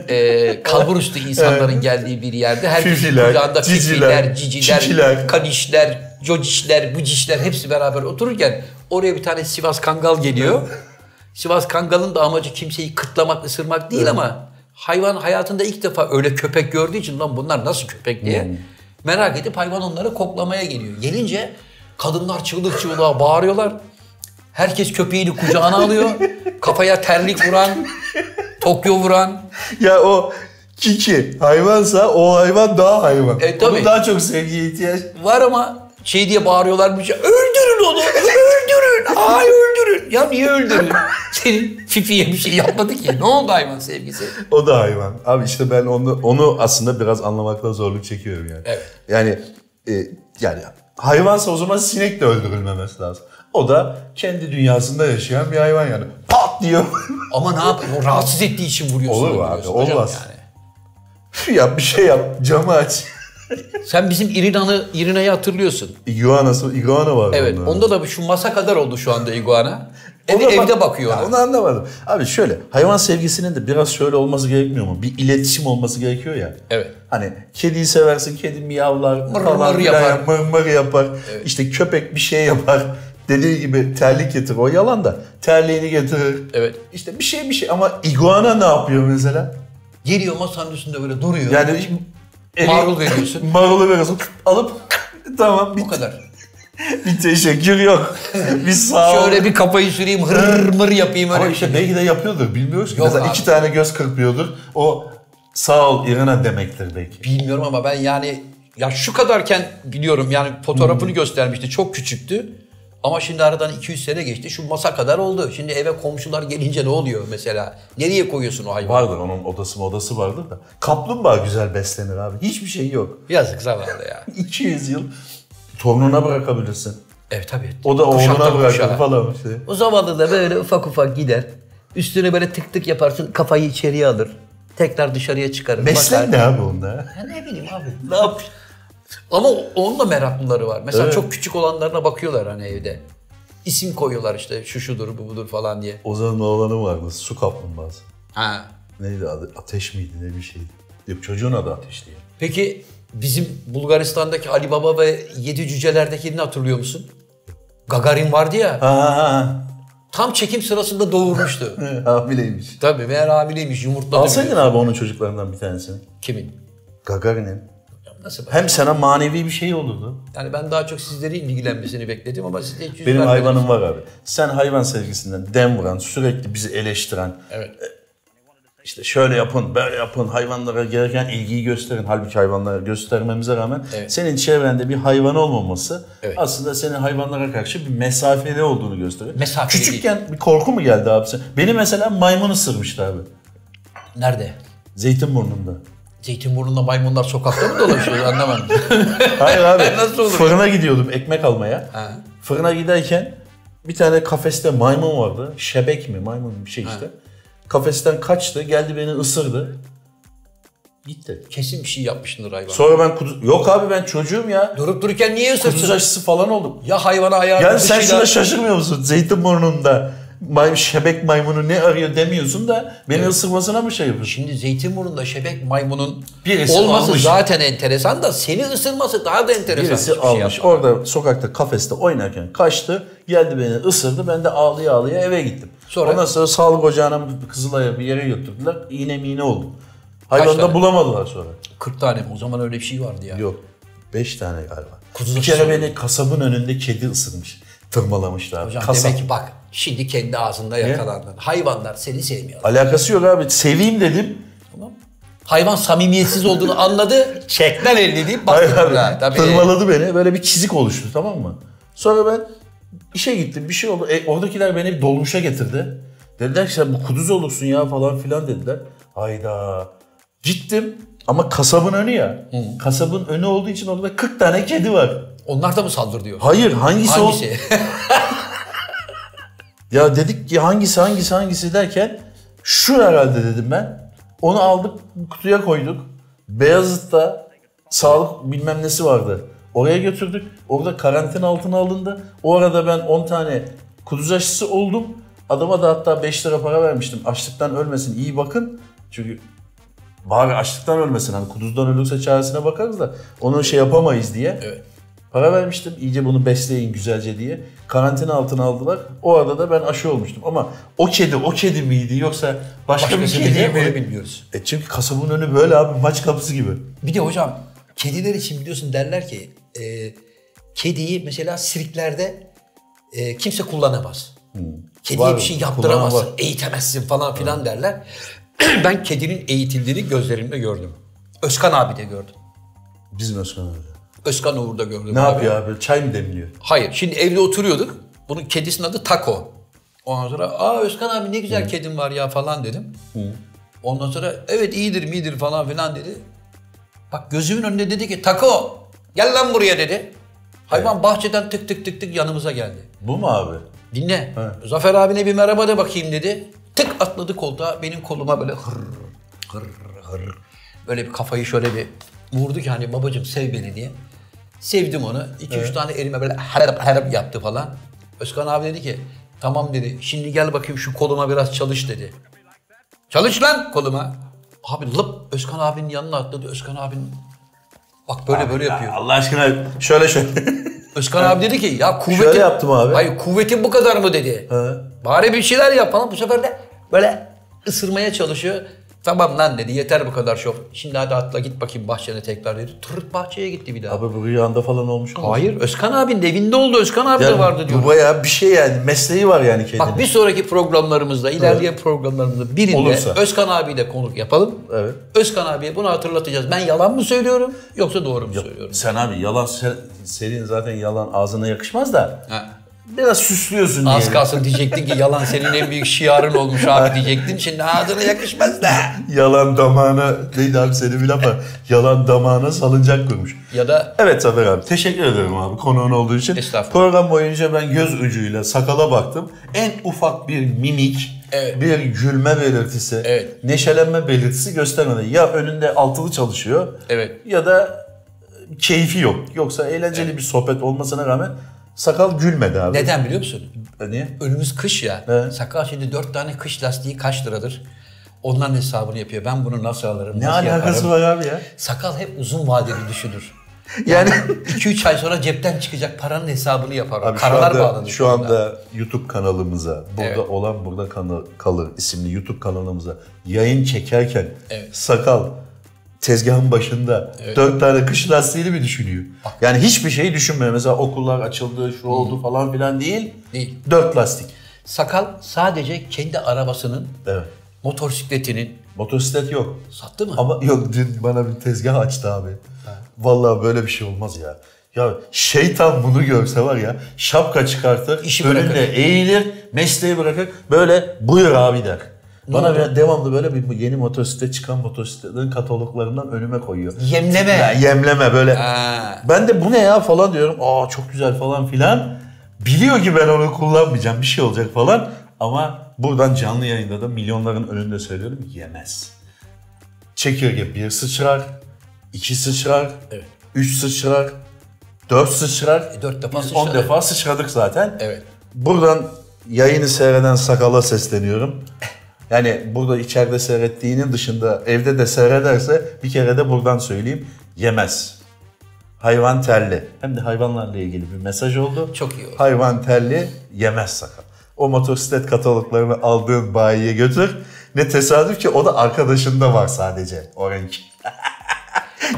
[SPEAKER 1] e, kalbur üstü insanların geldiği bir yerde herkesin
[SPEAKER 2] Fifiler,
[SPEAKER 1] kucağında
[SPEAKER 2] ciciler,
[SPEAKER 1] fifiler, ciciler,
[SPEAKER 2] çikiler.
[SPEAKER 1] kanişler, cocişler, bucişler hepsi beraber otururken oraya bir tane Sivas Kangal geliyor. Sivas Kangal'ın da amacı kimseyi kıtlamak, ısırmak değil ama hayvan hayatında ilk defa öyle köpek gördüğü için lan bunlar nasıl köpek diye merak edip hayvan onları koklamaya geliyor. Gelince kadınlar çığlık çığlığa bağırıyorlar. Herkes köpeğini kucağına alıyor. Kafaya terlik vuran, Tokyo vuran.
[SPEAKER 2] Ya o kiki hayvansa o hayvan daha hayvan.
[SPEAKER 1] E, tabii.
[SPEAKER 2] Onun daha çok sevgiye ihtiyaç.
[SPEAKER 1] Var ama şey diye bağırıyorlar bir şey. Öldürün onu, öldürün, ay öldürün. Ya niye öldürün? Senin Fifi'ye bir şey yapmadı ki. Ne oldu hayvan sevgisi?
[SPEAKER 2] O da hayvan. Abi işte ben onu onu aslında biraz anlamakta zorluk çekiyorum yani.
[SPEAKER 1] Evet.
[SPEAKER 2] Yani e, yani hayvansa o zaman sinek de öldürülmemesi lazım. O da kendi dünyasında yaşayan bir hayvan yani. Pat diyor.
[SPEAKER 1] Ama ne yapayım? O rahatsız ettiği için vuruyorsun.
[SPEAKER 2] Olur mu
[SPEAKER 1] onu
[SPEAKER 2] abi?
[SPEAKER 1] diyorsun hocam
[SPEAKER 2] Olmaz. yap bir şey yap. Camı aç.
[SPEAKER 1] Sen bizim İrina'yı İrina'yı hatırlıyorsun.
[SPEAKER 2] İguanası, iguana var
[SPEAKER 1] Evet.
[SPEAKER 2] onda.
[SPEAKER 1] Onda da şu masa kadar oldu şu anda iguana. Ev,
[SPEAKER 2] Ona bak-
[SPEAKER 1] evde bakıyor.
[SPEAKER 2] Ya
[SPEAKER 1] ona.
[SPEAKER 2] Onu anlamadım. Abi şöyle hayvan sevgisinin de biraz şöyle olması gerekmiyor mu? Bir iletişim olması gerekiyor ya.
[SPEAKER 1] Evet.
[SPEAKER 2] Hani kediyi seversin kedi miyavlar
[SPEAKER 1] Mır
[SPEAKER 2] falan
[SPEAKER 1] mır
[SPEAKER 2] filan,
[SPEAKER 1] yapar.
[SPEAKER 2] mır mır yapar. İşte köpek bir şey yapar. Dediği gibi terlik getirir. O yalan da terliğini getirir.
[SPEAKER 1] Evet.
[SPEAKER 2] İşte bir şey bir şey ama iguana ne yapıyor mesela?
[SPEAKER 1] Geliyor masanın üstünde böyle duruyor.
[SPEAKER 2] Yani eli-
[SPEAKER 1] Marul veriyorsun.
[SPEAKER 2] marulu veriyorsun. Alıp tamam bir,
[SPEAKER 1] Bu kadar.
[SPEAKER 2] bir teşekkür yok. bir sağ ol.
[SPEAKER 1] Şöyle bir kafayı süreyim, hır mır yapayım öyle
[SPEAKER 2] Ama
[SPEAKER 1] bir şey.
[SPEAKER 2] işte belki de yapıyordur bilmiyoruz ki.
[SPEAKER 1] Yok
[SPEAKER 2] Mesela
[SPEAKER 1] abi.
[SPEAKER 2] iki tane göz kırpıyordur. O sağ ol İrina demektir belki.
[SPEAKER 1] Bilmiyorum ama ben yani ya şu kadarken biliyorum yani fotoğrafını
[SPEAKER 2] Hmm.
[SPEAKER 1] göstermişti. Çok küçüktü. Ama şimdi aradan 200 sene geçti. Şu masa kadar oldu. Şimdi eve komşular gelince ne oluyor mesela? Nereye koyuyorsun o hayvanı?
[SPEAKER 2] Vardır onun odası mı odası vardır da. Kaplumbağa güzel beslenir abi. Hiçbir şey yok.
[SPEAKER 1] Yazık zavallı ya.
[SPEAKER 2] 200 yıl torununa bırakabilirsin.
[SPEAKER 1] Evet tabii.
[SPEAKER 2] O da
[SPEAKER 1] Kuşaktan
[SPEAKER 2] oğluna
[SPEAKER 1] kuşağa.
[SPEAKER 2] bırakır falan şey. işte.
[SPEAKER 1] O zavallı da böyle ufak ufak gider. Üstüne böyle tık tık yaparsın kafayı içeriye alır. Tekrar dışarıya çıkarır.
[SPEAKER 2] Beslen
[SPEAKER 1] bakar.
[SPEAKER 2] ne abi onda?
[SPEAKER 1] Ya ne bileyim abi. Ne yap? Ama o- onun da meraklıları var. Mesela
[SPEAKER 2] Evet.
[SPEAKER 1] çok küçük olanlarına bakıyorlar hani evde. İsim koyuyorlar işte şu şudur bu budur falan diye.
[SPEAKER 2] Ozan'ın oğlanı vardı su kaplumbağası.
[SPEAKER 1] Ha.
[SPEAKER 2] Neydi adı? Ateş miydi ne bir şeydi? Yok çocuğun adı Ateş diye.
[SPEAKER 1] Peki bizim Bulgaristan'daki Ali Baba ve Yedi Cüceler'dekini hatırlıyor musun? Gagarin vardı ya.
[SPEAKER 2] Ha ha
[SPEAKER 1] Tam çekim sırasında doğurmuştu.
[SPEAKER 2] ha. Hamileymiş.
[SPEAKER 1] Tabii meğer hamileymiş yumurtladı.
[SPEAKER 2] Alsaydın abi onun çocuklarından bir tanesini.
[SPEAKER 1] Kimin?
[SPEAKER 2] Gagarin'in.
[SPEAKER 1] Nasıl?
[SPEAKER 2] Hem sana manevi bir şey olurdu.
[SPEAKER 1] Yani ben daha çok sizlerin ilgilenmesini bekledim ama siz de hiç yüz
[SPEAKER 2] Benim
[SPEAKER 1] vermediniz.
[SPEAKER 2] hayvanım var abi. Sen hayvan sevgisinden dem vuran, sürekli bizi eleştiren,
[SPEAKER 1] Evet.
[SPEAKER 2] işte şöyle yapın, böyle yapın, hayvanlara gereken ilgiyi gösterin. Halbuki hayvanlara göstermemize rağmen
[SPEAKER 1] Evet.
[SPEAKER 2] senin çevrende bir hayvan olmaması
[SPEAKER 1] Evet.
[SPEAKER 2] aslında senin hayvanlara karşı bir mesafeli olduğunu gösteriyor.
[SPEAKER 1] Mesafeli
[SPEAKER 2] Küçükken bir korku mu geldi abi? sen- Beni mesela maymun ısırmıştı abi.
[SPEAKER 1] Nerede?
[SPEAKER 2] Zeytinburnu'nda.
[SPEAKER 1] Zeytinburnu'nda maymunlar sokakta mı dolaşıyor anlamadım.
[SPEAKER 2] Hayır abi.
[SPEAKER 1] Nasıl olur?
[SPEAKER 2] Fırına gidiyordum ekmek almaya.
[SPEAKER 1] Ha.
[SPEAKER 2] Fırına giderken bir tane kafeste maymun vardı. Şebek mi maymun bir şey işte. Kafesten kaçtı geldi beni ısırdı. Gitti.
[SPEAKER 1] Kesin bir şey yapmışsındır hayvan.
[SPEAKER 2] Sonra ben kudu... Yok abi ben çocuğum ya.
[SPEAKER 1] Durup dururken niye
[SPEAKER 2] Kuduz
[SPEAKER 1] ısırsın?
[SPEAKER 2] aşısı falan oldum.
[SPEAKER 1] şey? Ya şey hayvana ayağını
[SPEAKER 2] Yani sen
[SPEAKER 1] dışıyla-
[SPEAKER 2] şuna şaşırmıyor musun? Zeytinburnu'nda may- şebek maymunu ne arıyor demiyorsun da beni ısırmasına mı şey yapıyorsun?
[SPEAKER 1] Şimdi Zeytinburnu'nda şebek maymunun
[SPEAKER 2] Birisi
[SPEAKER 1] olması
[SPEAKER 2] almış.
[SPEAKER 1] zaten enteresan da seni ısırması daha da enteresan.
[SPEAKER 2] Birisi
[SPEAKER 1] Hiçbir şey
[SPEAKER 2] almış.
[SPEAKER 1] yapmadı.
[SPEAKER 2] Orada sokakta kafeste oynarken kaçtı. Geldi beni ısırdı. Ben de ağlıya ağlıya eve gittim.
[SPEAKER 1] Sonra?
[SPEAKER 2] Ondan sonra sağlık ocağına mı, Kızılay'a bir yere götürdüler. İğne miğne oldum. Hayvanı
[SPEAKER 1] tane?
[SPEAKER 2] da bulamadılar sonra.
[SPEAKER 1] 40 tane mi? O zaman öyle bir şey vardı ya.
[SPEAKER 2] Yok. Beş tane galiba.
[SPEAKER 1] Kuzu
[SPEAKER 2] bir kere
[SPEAKER 1] ısırdı.
[SPEAKER 2] beni kasabın önünde kedi ısırmış. Tırmalamışlar.
[SPEAKER 1] Hocam
[SPEAKER 2] Kasap.
[SPEAKER 1] demek ki bak şimdi kendi ağzında yakalandın. Hayvanlar seni sevmiyor.
[SPEAKER 2] Alakası yok abi. Seveyim dedim.
[SPEAKER 1] Hayvan samimiyetsiz olduğunu anladı. Çekten elini deyip
[SPEAKER 2] Hayır
[SPEAKER 1] bastı.
[SPEAKER 2] abi.
[SPEAKER 1] buna. Tabii.
[SPEAKER 2] Tırmaladı beni. Böyle bir çizik oluştu tamam mı? Sonra ben işe gittim. Bir şey oldu. E, oradakiler beni dolmuşa getirdi. Dediler ki sen bu kuduz olursun ya falan filan dediler. Hayda. Gittim ama kasabın önü ya. Kasabın önü olduğu için orada 40 tane kedi var.
[SPEAKER 1] Onlar da mı saldırıyor?
[SPEAKER 2] Hayır hangisi, o?
[SPEAKER 1] Hangisi?
[SPEAKER 2] Ya dedik ki hangisi hangisi hangisi derken şu herhalde dedim ben. Onu aldık kutuya koyduk. Beyazıt'ta sağlık bilmem nesi vardı. Oraya götürdük. Orada karantina altına alındı. O arada ben 10 tane kuduz aşısı oldum. Adama da hatta 5 lira para vermiştim. Açlıktan ölmesin iyi bakın. Çünkü bari açlıktan ölmesin. Hani kuduzdan ölürse çaresine bakarız da onu şey yapamayız diye.
[SPEAKER 3] Evet.
[SPEAKER 2] Para vermiştim. iyice bunu besleyin güzelce diye. Karantina altına aldılar. O arada da ben aşı olmuştum. Ama o kedi o kedi miydi yoksa başka,
[SPEAKER 3] Başka
[SPEAKER 2] bir
[SPEAKER 3] bir
[SPEAKER 2] kedi,
[SPEAKER 3] şey
[SPEAKER 2] mi?
[SPEAKER 3] onu bilmiyoruz.
[SPEAKER 2] E çünkü kasabın önü böyle abi maç kapısı gibi.
[SPEAKER 1] Bir de hocam kediler için biliyorsun derler ki e, kediyi mesela sirklerde e, kimse kullanamaz. Kediye
[SPEAKER 2] Hmm. Var,
[SPEAKER 1] bir şey
[SPEAKER 2] kullanan
[SPEAKER 1] yaptıramazsın,
[SPEAKER 2] var.
[SPEAKER 1] eğitemezsin falan filan derler. ben kedinin eğitildiğini gözlerimle gördüm. Özkan abi de gördüm.
[SPEAKER 2] Bizim Özkan abi.
[SPEAKER 1] Özkan Uğur'da gördüm.
[SPEAKER 2] Ne
[SPEAKER 1] abi.
[SPEAKER 2] yapıyor abi? Çay mı demliyor?
[SPEAKER 1] Hayır. Şimdi evde oturuyorduk. Bunun kedisinin adı Taco. Ondan sonra aa Özkan abi ne
[SPEAKER 2] Hmm.
[SPEAKER 1] güzel kedin var ya falan dedim. Ondan sonra evet iyidir midir falan filan dedi. Bak gözümün önünde dedi ki Taco gel lan buraya dedi. Hayvan bahçeden tık tık tık tık yanımıza geldi.
[SPEAKER 2] Bu mu abi?
[SPEAKER 1] Dinle. Zafer abine bir merhaba de bakayım dedi. Tık atladı koltuğa benim koluma böyle hır hır hır. Böyle bir kafayı şöyle bir vurdu ki hani babacım sev beni diye. Sevdim onu. 2-3 tane elime böyle harap harap yaptı falan. Özkan abi dedi ki tamam dedi şimdi gel bakayım şu koluma biraz çalış dedi. Çalış lan koluma. Abi lıp Özkan abinin yanına atladı. Özkan abinin bak böyle böyle yapıyor.
[SPEAKER 2] Allah aşkına şöyle şöyle.
[SPEAKER 1] Özkan abi dedi ki ya kuvvetin...
[SPEAKER 2] Şöyle yaptım abi.
[SPEAKER 1] Hayır kuvvetin bu kadar mı dedi.
[SPEAKER 2] Hı.
[SPEAKER 1] Bari bir şeyler yap falan. Bu sefer de böyle ısırmaya çalışıyor. Tamam lan dedi yeter bu kadar şov. Şimdi hadi atla git bakayım bahçene tekrar dedi. Tırt bahçeye gitti bir daha.
[SPEAKER 2] abi bu rüyanda falan olmuş mu?
[SPEAKER 1] Hayır Özkan abinin evinde oldu Özkan abi de vardı diyor.
[SPEAKER 2] Bu bayağı bir şey yani. Mesleği var yani kedinin.
[SPEAKER 1] Bak bir sonraki programlarımızda, ilerleyen programlarımızda birinde
[SPEAKER 2] Olursa.
[SPEAKER 1] Özkan abiyi de konuk yapalım.
[SPEAKER 2] Evet.
[SPEAKER 1] Özkan abiye bunu hatırlatacağız. Ben yalan mı söylüyorum yoksa doğru mu söylüyorum?
[SPEAKER 2] Sen abi yalan sen, senin zaten yalan ağzına yakışmaz da.
[SPEAKER 1] Ha.
[SPEAKER 2] Biraz süslüyorsun
[SPEAKER 1] Az
[SPEAKER 2] diyelim.
[SPEAKER 1] kalsın diyecektin ki yalan senin en büyük şiarın olmuş abi diyecektin. Şimdi ağzına yakışmaz da.
[SPEAKER 2] Yalan damağına neydi abi senin bir laf var. Yalan damağına salıncak kurmuş.
[SPEAKER 1] Ya da
[SPEAKER 2] Evet Zafer abi teşekkür ederim abi konuğun olduğu için.
[SPEAKER 1] Estağfurullah.
[SPEAKER 2] Program boyunca ben göz ucuyla sakala baktım. En ufak bir mimik,
[SPEAKER 1] Evet.
[SPEAKER 2] bir gülme belirtisi,
[SPEAKER 1] Evet.
[SPEAKER 2] neşelenme belirtisi göstermedi. Ya önünde altılı çalışıyor
[SPEAKER 1] Evet.
[SPEAKER 2] ya da e, keyfi yok. Yoksa eğlenceli bir sohbet olmasına rağmen sakal gülmedi abi.
[SPEAKER 1] neden biliyor musun?
[SPEAKER 2] E, Niye?
[SPEAKER 1] Önümüz kış ya.
[SPEAKER 2] Evet.
[SPEAKER 1] Sakal şimdi dört tane kış lastiği kaç liradır? Onların hesabını yapıyor. Ben bunu nasıl alırım?
[SPEAKER 2] Ne
[SPEAKER 1] nasıl
[SPEAKER 2] alakası
[SPEAKER 1] yaparım?
[SPEAKER 2] var abi ya?
[SPEAKER 1] Sakal hep uzun vadeli düşünür.
[SPEAKER 2] Yani
[SPEAKER 1] 2-3 ay sonra cepten çıkacak paranın hesabını yapar. o.
[SPEAKER 2] Abi
[SPEAKER 1] Karalar
[SPEAKER 2] şu anda,
[SPEAKER 1] bağlanır
[SPEAKER 2] şu anda YouTube kanalımıza, burada
[SPEAKER 1] Evet.
[SPEAKER 2] olan burada kanı- kalır isimli YouTube kanalımıza yayın çekerken
[SPEAKER 1] Evet.
[SPEAKER 2] sakal tezgahın başında dört tane kış lastiğini mi düşünüyor? Yani hiçbir şeyi düşünmüyor. Mesela okullar açıldı, şu oldu falan filan değil.
[SPEAKER 1] Değil.
[SPEAKER 2] Dört lastik.
[SPEAKER 1] Sakal sadece kendi arabasının,
[SPEAKER 2] Evet.
[SPEAKER 1] motosikletinin
[SPEAKER 2] Motosiklet yok.
[SPEAKER 1] sattı mı?
[SPEAKER 2] Ama yok dün bana bir tezgah açtı abi. Vallahi böyle bir şey olmaz ya. Ya şeytan bunu görse var ya şapka çıkartır,
[SPEAKER 1] İşi
[SPEAKER 2] önünde
[SPEAKER 1] bırakır.
[SPEAKER 2] eğilir, mesleği bırakır. Böyle buyur abi der. Bana bir- devamlı böyle bir yeni motosiklet çıkan motosikletlerin kataloglarından önüme koyuyor.
[SPEAKER 1] Yemleme.
[SPEAKER 2] Ya, yemleme böyle.
[SPEAKER 1] Ha.
[SPEAKER 2] Ben de bu ne ya falan diyorum. Aa çok güzel falan filan. Biliyor ki ben onu kullanmayacağım bir şey olacak falan. Ama buradan canlı yayında da milyonların önünde söylüyorum yemez çekirge bir sıçrar, iki sıçrar,
[SPEAKER 1] Evet.
[SPEAKER 2] üç sıçrar, dört sıçrar.
[SPEAKER 1] E, dört defa
[SPEAKER 2] Biz
[SPEAKER 1] sıçradı.
[SPEAKER 2] On defa sıçradık zaten.
[SPEAKER 1] Evet.
[SPEAKER 2] Buradan yayını seyreden sakala sesleniyorum. Yani burada içeride seyrettiğinin dışında evde de seyrederse bir kere de buradan söyleyeyim yemez. Hayvan terli. Hem de hayvanlarla ilgili bir mesaj oldu.
[SPEAKER 1] Çok iyi oldu.
[SPEAKER 2] Hayvan terli yemez sakal. O motosiklet kataloglarını aldığın bayiye götür. Ne tesadüf ki o da arkadaşında var sadece o renk.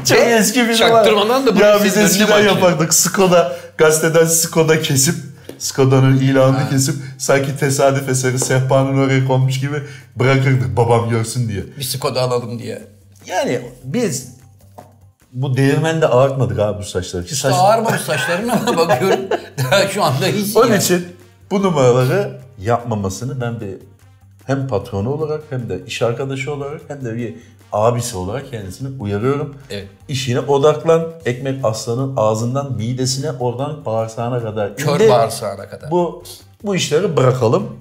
[SPEAKER 2] Çok eski bir şey var.
[SPEAKER 1] çaktırmadan da bu
[SPEAKER 2] Ya
[SPEAKER 1] bizim
[SPEAKER 2] biz
[SPEAKER 1] önüne
[SPEAKER 2] eskiden
[SPEAKER 1] bakıyor.
[SPEAKER 2] yapardık. Skoda, gazeteden Skoda kesip Skoda'nın ilanını kesip sanki tesadüf eseri sehpanın oraya konmuş gibi bırakırdık babam görsün diye.
[SPEAKER 1] Bir Skoda alalım diye.
[SPEAKER 2] Yani biz bu değirmende ağartmadık abi bu saçları. Ki saç...
[SPEAKER 1] Ağarmamış saçlarına bakıyorum. Daha şu anda hiç
[SPEAKER 2] Onun
[SPEAKER 1] yani.
[SPEAKER 2] için bu numaraları yapmamasını ben bir hem patronu olarak hem de iş arkadaşı olarak hem de bir abisi olarak kendisini uyarıyorum.
[SPEAKER 1] Evet.
[SPEAKER 2] İşine odaklan. Ekmek aslanın ağzından midesine oradan bağırsağına kadar
[SPEAKER 1] Kör
[SPEAKER 2] indi.
[SPEAKER 1] bağırsağına kadar.
[SPEAKER 2] Bu bu işleri bırakalım.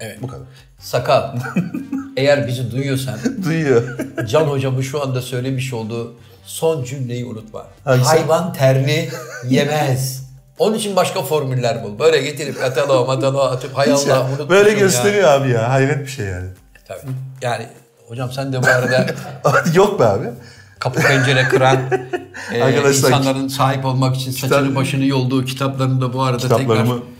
[SPEAKER 1] Evet.
[SPEAKER 2] Bu kadar.
[SPEAKER 1] Sakal. eğer bizi duyuyorsan
[SPEAKER 2] Duyuyor.
[SPEAKER 1] Can hocamın şu anda söylemiş olduğu son cümleyi unutma.
[SPEAKER 2] Hangisi?
[SPEAKER 1] Hayvan terli yemez. Onun için başka formüller bul. Böyle getirip kataloğa mataloğa atıp hay
[SPEAKER 2] Hiç ya.
[SPEAKER 1] Allah unutmuşum
[SPEAKER 2] Böyle
[SPEAKER 1] ya.
[SPEAKER 2] gösteriyor abi ya. Hayret bir şey yani.
[SPEAKER 1] Tabii. Yani hocam sen de bu arada
[SPEAKER 2] Yok be abi.
[SPEAKER 1] kapı pencere kıran e,
[SPEAKER 2] Arkadaşlar,
[SPEAKER 1] insanların sahip olmak için saçını başını yolduğu kitaplarını da bu arada
[SPEAKER 2] Kitaplarımı...
[SPEAKER 1] tekrar...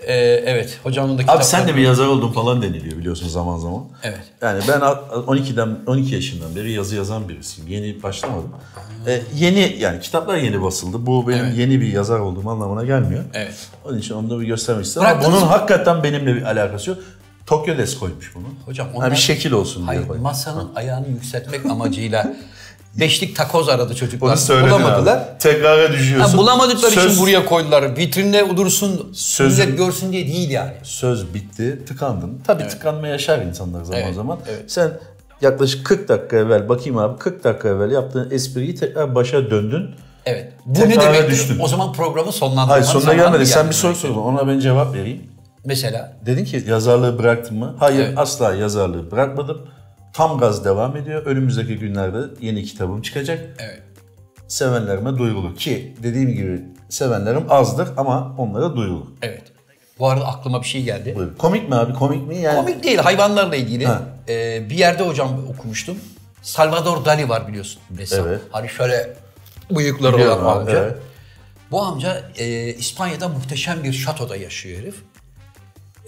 [SPEAKER 1] E, evet hocamın da
[SPEAKER 2] Abi sen de bir yazar oldun falan deniliyor biliyorsun zaman zaman.
[SPEAKER 1] Evet.
[SPEAKER 2] Yani ben alt- 12'den 12 yaşından beri yazı yazan birisiyim. Yeni başlamadım. Ee, yeni yani kitaplar yeni basıldı. Bu benim yeni bir yazar olduğum anlamına gelmiyor.
[SPEAKER 1] Evet.
[SPEAKER 2] Onun için onu da bir göstermek istedim. Ama
[SPEAKER 1] Bıraktınız
[SPEAKER 2] bunun
[SPEAKER 1] mı?
[SPEAKER 2] hakikaten benimle bir alakası yok. Tokyo Des koymuş bunu.
[SPEAKER 1] Hocam
[SPEAKER 2] Ha,
[SPEAKER 1] onlar-
[SPEAKER 2] bir şekil olsun
[SPEAKER 1] Hayır,
[SPEAKER 2] diye. koymuş.
[SPEAKER 1] masanın ayağını yükseltmek amacıyla beşlik takoz aradı çocuklar.
[SPEAKER 2] Onu söyledin
[SPEAKER 1] Bulamadılar.
[SPEAKER 2] abi. Tekrara düşüyorsun.
[SPEAKER 1] Ha, bulamadıkları
[SPEAKER 2] Söz-
[SPEAKER 1] için buraya koydular. Vitrinde dursun,
[SPEAKER 2] Söz-
[SPEAKER 1] millet görsün diye değil yani.
[SPEAKER 2] söz bitti, tıkandın. Tabii tıkanma yaşar insanlar zaman
[SPEAKER 1] Evet,
[SPEAKER 2] zaman.
[SPEAKER 1] evet.
[SPEAKER 2] Sen yaklaşık 40 dakika evvel, bakayım abi 40 dakika evvel yaptığın espriyi tekrar başa döndün.
[SPEAKER 1] Evet. Bu ne
[SPEAKER 2] Tekrara
[SPEAKER 1] demek?
[SPEAKER 2] düştün.
[SPEAKER 1] O zaman programı sonlandırmanın
[SPEAKER 2] Hayır sonuna
[SPEAKER 1] zamanı
[SPEAKER 2] gelmedi. Sen
[SPEAKER 1] geldi.
[SPEAKER 2] bir soru sordun. Ona ben cevap vereyim.
[SPEAKER 1] Mesela
[SPEAKER 2] Dedin ki yazarlığı bıraktın mı? Hayır
[SPEAKER 1] Evet.
[SPEAKER 2] asla yazarlığı bırakmadım. Tam gaz devam ediyor. Önümüzdeki günlerde yeni kitabım çıkacak.
[SPEAKER 1] evet.
[SPEAKER 2] Sevenlerime duyurulur ki dediğim gibi sevenlerim azdır ama onlara duyurulur.
[SPEAKER 1] Evet. Bu arada aklıma bir şey geldi.
[SPEAKER 2] Buyurun. Komik mi abi komik mi? Yani
[SPEAKER 1] Komik değil hayvanlarla ilgili.
[SPEAKER 2] Ha.
[SPEAKER 1] Ee, bir yerde hocam okumuştum. Salvador Dali var biliyorsun ressam.
[SPEAKER 2] Evet.
[SPEAKER 1] Hani şöyle bıyıkları
[SPEAKER 2] Biliyorum
[SPEAKER 1] olan
[SPEAKER 2] abi,
[SPEAKER 1] amca.
[SPEAKER 2] evet.
[SPEAKER 1] Bu amca e, İspanya'da muhteşem bir şatoda yaşıyor herif.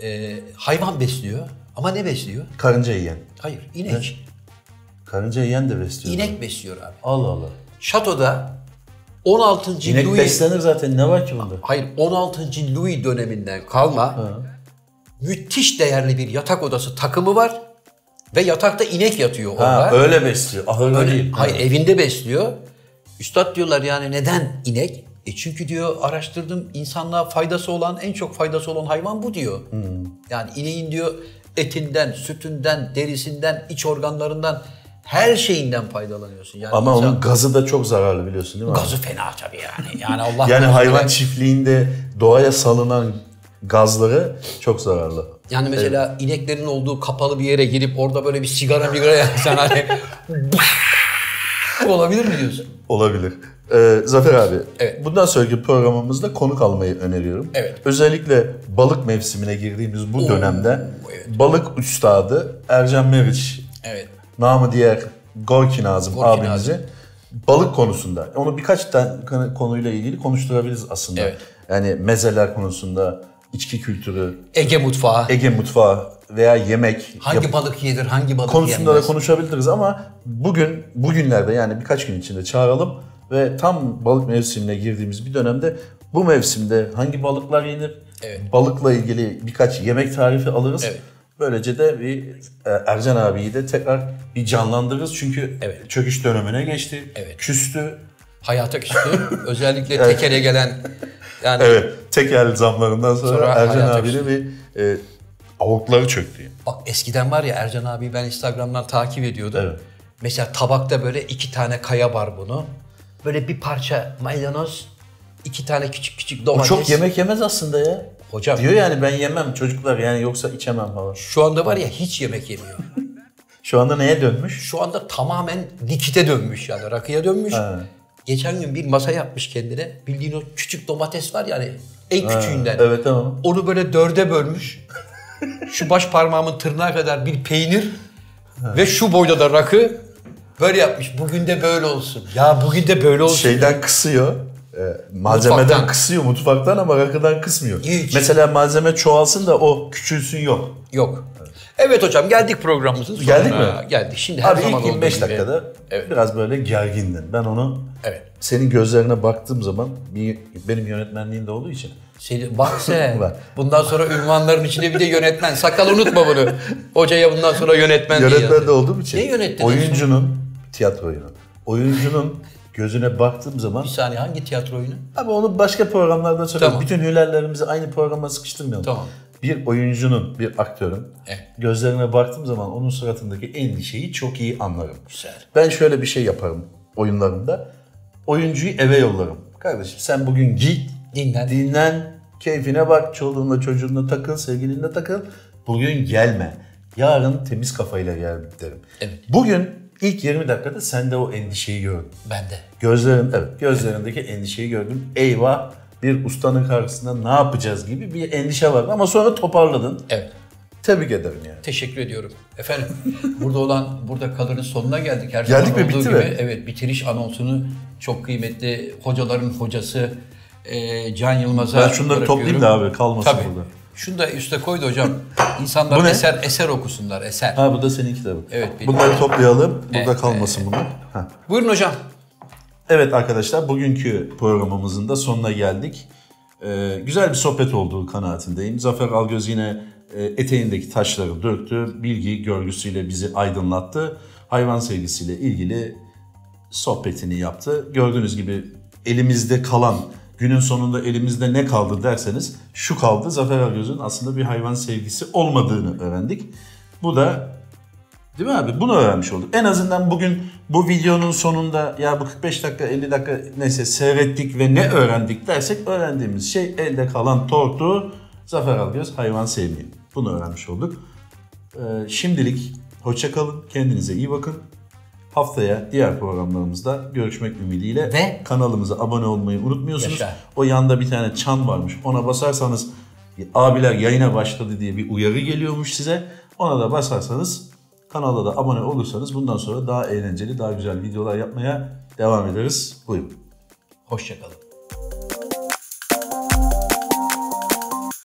[SPEAKER 1] E, hayvan besliyor ama ne besliyor?
[SPEAKER 2] Karınca yiyen.
[SPEAKER 1] Hayır inek.
[SPEAKER 2] Karınca yiyen de besliyor.
[SPEAKER 1] İnek besliyor abi.
[SPEAKER 2] Allah Allah.
[SPEAKER 1] Şatoda 16.
[SPEAKER 2] İnek
[SPEAKER 1] Louis
[SPEAKER 2] beslenir zaten ne var ki bunda?
[SPEAKER 1] Hayır 16. Louis döneminden kalma. Müthiş değerli bir yatak odası takımı var ve yatakta inek yatıyor
[SPEAKER 2] Ha,
[SPEAKER 1] orada.
[SPEAKER 2] öyle besliyor. Ahırda değil.
[SPEAKER 1] Hayır evinde besliyor. Üstad diyorlar yani neden inek? E çünkü diyor araştırdım insanlığa faydası olan en çok faydası olan hayvan bu diyor.
[SPEAKER 2] Hmm.
[SPEAKER 1] Yani ineğin diyor etinden, sütünden, derisinden, iç organlarından her şeyinden faydalanıyorsun. Yani
[SPEAKER 2] Ama
[SPEAKER 1] insan-
[SPEAKER 2] onun gazı da çok zararlı biliyorsun değil mi? abi?
[SPEAKER 1] e- gazı fena tabii yani. Yani Allah
[SPEAKER 2] Yani
[SPEAKER 1] korusun
[SPEAKER 2] hayvan
[SPEAKER 1] ben-
[SPEAKER 2] çiftliğinde doğaya salınan gazları çok zararlı.
[SPEAKER 1] Yani mesela ineklerin olduğu kapalı bir yere girip orada böyle bir sigara migara yaksan hani olabilir mi diyorsun?
[SPEAKER 2] Olabilir. Ee, Zafer abi,
[SPEAKER 1] Evet.
[SPEAKER 2] bundan sonraki programımızda konuk almayı öneriyorum.
[SPEAKER 1] Evet.
[SPEAKER 2] Özellikle balık mevsimine girdiğimiz bu dönemde
[SPEAKER 1] evet.
[SPEAKER 2] balık üstadı Ercan Meriç,
[SPEAKER 1] Evet.
[SPEAKER 2] namı diğer Gorki Nazım
[SPEAKER 1] Gorki
[SPEAKER 2] abimizi balık konusunda, onu birkaç tane konu- konuyla ilgili konuşturabiliriz aslında.
[SPEAKER 1] Evet.
[SPEAKER 2] Yani mezeler konusunda, içki kültürü,
[SPEAKER 1] Ege mutfağı.
[SPEAKER 2] Ege mutfağı veya yemek,
[SPEAKER 1] hangi balık yenir, hangi balık
[SPEAKER 2] konusunda da
[SPEAKER 1] yenmez?
[SPEAKER 2] konuşabiliriz ama bugün bugünlerde yani birkaç gün içinde çağıralım ve tam balık mevsimine girdiğimiz bir dönemde bu mevsimde hangi balıklar yenir?
[SPEAKER 1] Evet.
[SPEAKER 2] Balıkla ilgili birkaç yemek tarifi alırız.
[SPEAKER 1] Evet.
[SPEAKER 2] Böylece de bir e, Ercan abiyi de tekrar bir canlandırırız çünkü
[SPEAKER 1] Evet.
[SPEAKER 2] çöküş dönemine geçti.
[SPEAKER 1] Evet.
[SPEAKER 2] Küstü.
[SPEAKER 1] Hayata küstü. Özellikle tekele gelen yani
[SPEAKER 2] Evet. Tekel zamlarından sonra,
[SPEAKER 1] Sonra
[SPEAKER 2] Ercan
[SPEAKER 1] hayata
[SPEAKER 2] abiyle bir e, avukları çöktü.
[SPEAKER 1] bak eskiden var ya Ercan abi ben Instagram'dan takip ediyordum.
[SPEAKER 2] Evet.
[SPEAKER 1] Mesela tabakta böyle iki tane kaya var bunu. Böyle bir parça maydanoz, iki tane küçük küçük domates.
[SPEAKER 2] Çok yemek yemez aslında ya.
[SPEAKER 1] Hocam
[SPEAKER 2] Diyor yani ben yemem çocuklar yani yoksa içemem falan.
[SPEAKER 1] şu anda var ya hiç yemek yemiyor.
[SPEAKER 2] Şu anda neye dönmüş?
[SPEAKER 1] şu anda tamamen likite dönmüş yani rakıya dönmüş. Geçen gün bir masa yapmış kendine. Bildiğin o küçük domates var yani en küçüğünden.
[SPEAKER 2] Evet tamam.
[SPEAKER 1] Onu böyle dörde bölmüş. şu baş parmağımın tırnağı kadar bir peynir ve şu boyda da rakı böyle yapmış. Bugün de böyle olsun. Ya bugün de böyle olsun.
[SPEAKER 2] Şeyden kısıyor. e, malzemeden
[SPEAKER 1] Mutfaktan.
[SPEAKER 2] kısıyor mutfaktan ama rakıdan kısmıyor.
[SPEAKER 1] Hiç.
[SPEAKER 2] Mesela malzeme çoğalsın da o küçülsün yok.
[SPEAKER 1] Yok. Evet hocam geldik programımızın sonuna.
[SPEAKER 2] Geldik mi?
[SPEAKER 1] Geldik. Şimdi her
[SPEAKER 2] Abi
[SPEAKER 1] zaman
[SPEAKER 2] ilk
[SPEAKER 1] olduğu
[SPEAKER 2] 25
[SPEAKER 1] gibi.
[SPEAKER 2] dakikada biraz böyle gergindin. Ben onu
[SPEAKER 1] Evet.
[SPEAKER 2] senin gözlerine baktığım zaman bir, benim yönetmenliğim de olduğu için
[SPEAKER 1] Seni, bak sen.
[SPEAKER 2] Bak.
[SPEAKER 1] Bundan sonra ünvanların içinde bir de yönetmen. Sakal unutma bunu. Hocaya bundan sonra yönetmen diye
[SPEAKER 2] yönetmen
[SPEAKER 1] yazıyor.
[SPEAKER 2] de olduğum için
[SPEAKER 1] Ne yönettin?
[SPEAKER 2] oyuncunun tiyatroyunu oyuncunun gözüne baktığım zaman
[SPEAKER 1] Bir saniye hangi tiyatro oyunu?
[SPEAKER 2] Abi onu başka programlarda söyleyeyim.
[SPEAKER 1] Tamam.
[SPEAKER 2] Bütün hülerlerimizi aynı programa sıkıştırmayalım.
[SPEAKER 1] Tamam.
[SPEAKER 2] Bir oyuncunun, bir aktörün
[SPEAKER 1] Evet.
[SPEAKER 2] gözlerine baktığım zaman onun suratındaki endişeyi çok iyi anlarım.
[SPEAKER 1] Güzel.
[SPEAKER 2] Ben şöyle bir şey yaparım oyunlarımda. Oyuncuyu eve yollarım. Kardeşim sen bugün git,
[SPEAKER 1] Dinlen.
[SPEAKER 2] dinlen, keyfine bak, çoluğunla çocuğunla takıl, sevgilinle takıl. Bugün gelme. Yarın temiz kafayla gel derim.
[SPEAKER 1] Evet.
[SPEAKER 2] Bugün ilk 20 dakikada sende o endişeyi gördüm.
[SPEAKER 1] Bende.
[SPEAKER 2] Gözlerin, evet gözlerindeki endişeyi gördüm. Eyvah bir ustanın karşısında ne yapacağız gibi bir endişe vardı ama sonra toparladın.
[SPEAKER 1] Evet.
[SPEAKER 2] Tebrik ederim yani.
[SPEAKER 1] Teşekkür ediyorum. Efendim burada olan burada kalırın sonuna geldik. Her
[SPEAKER 2] Geldik
[SPEAKER 1] zaman
[SPEAKER 2] mi?
[SPEAKER 1] olduğu
[SPEAKER 2] Bitti
[SPEAKER 1] gibi,
[SPEAKER 2] mi?
[SPEAKER 1] Evet bitiriş anonsunu çok kıymetli hocaların hocası eee Can Yılmaz'a
[SPEAKER 2] Ben şunları
[SPEAKER 1] bırakıyorum.
[SPEAKER 2] toplayayım da abi kalmasın
[SPEAKER 1] Tabii.
[SPEAKER 2] burada.
[SPEAKER 1] Şunu da üste koy da hocam. İnsanlar
[SPEAKER 2] Bu ne?
[SPEAKER 1] eser eser okusunlar eser.
[SPEAKER 2] Ha bu da senin kitabın.
[SPEAKER 1] Evet, benim.
[SPEAKER 2] Bunları toplayalım. Burada
[SPEAKER 1] Evet,
[SPEAKER 2] kalmasın bunlar. Ha.
[SPEAKER 1] Buyurun hocam.
[SPEAKER 2] Evet arkadaşlar bugünkü programımızın da sonuna geldik. Ee, güzel bir sohbet olduğu kanaatindeyim. Zafer Algöz yine e, eteğindeki taşları döktü. Bilgi görgüsüyle bizi aydınlattı. Hayvan sevgisiyle ilgili sohbetini yaptı. Gördüğünüz gibi elimizde kalan, günün sonunda elimizde ne kaldı derseniz şu kaldı. Zafer Algöz'ün aslında bir hayvan sevgisi olmadığını öğrendik. Bu da Değil mi abi? Bunu öğrenmiş olduk. En azından bugün bu videonun sonunda ya bu 45 dakika 50 dakika neyse seyrettik ve ne öğrendik dersek öğrendiğimiz şey elde kalan tortu Zafer Algöz hayvan sevmeyin. Bunu öğrenmiş olduk. Ee, şimdilik hoşça kalın. Kendinize iyi bakın. Haftaya diğer programlarımızda görüşmek ümidiyle
[SPEAKER 1] Ve-
[SPEAKER 2] kanalımıza abone olmayı unutmuyorsunuz.
[SPEAKER 1] Yaşa.
[SPEAKER 2] O yanda bir tane çan varmış. Ona basarsanız abiler yayına başladı diye bir uyarı geliyormuş size. Ona da basarsanız kanala da abone olursanız bundan sonra daha eğlenceli, daha güzel videolar yapmaya devam ederiz. Buyurun.
[SPEAKER 1] Hoşçakalın.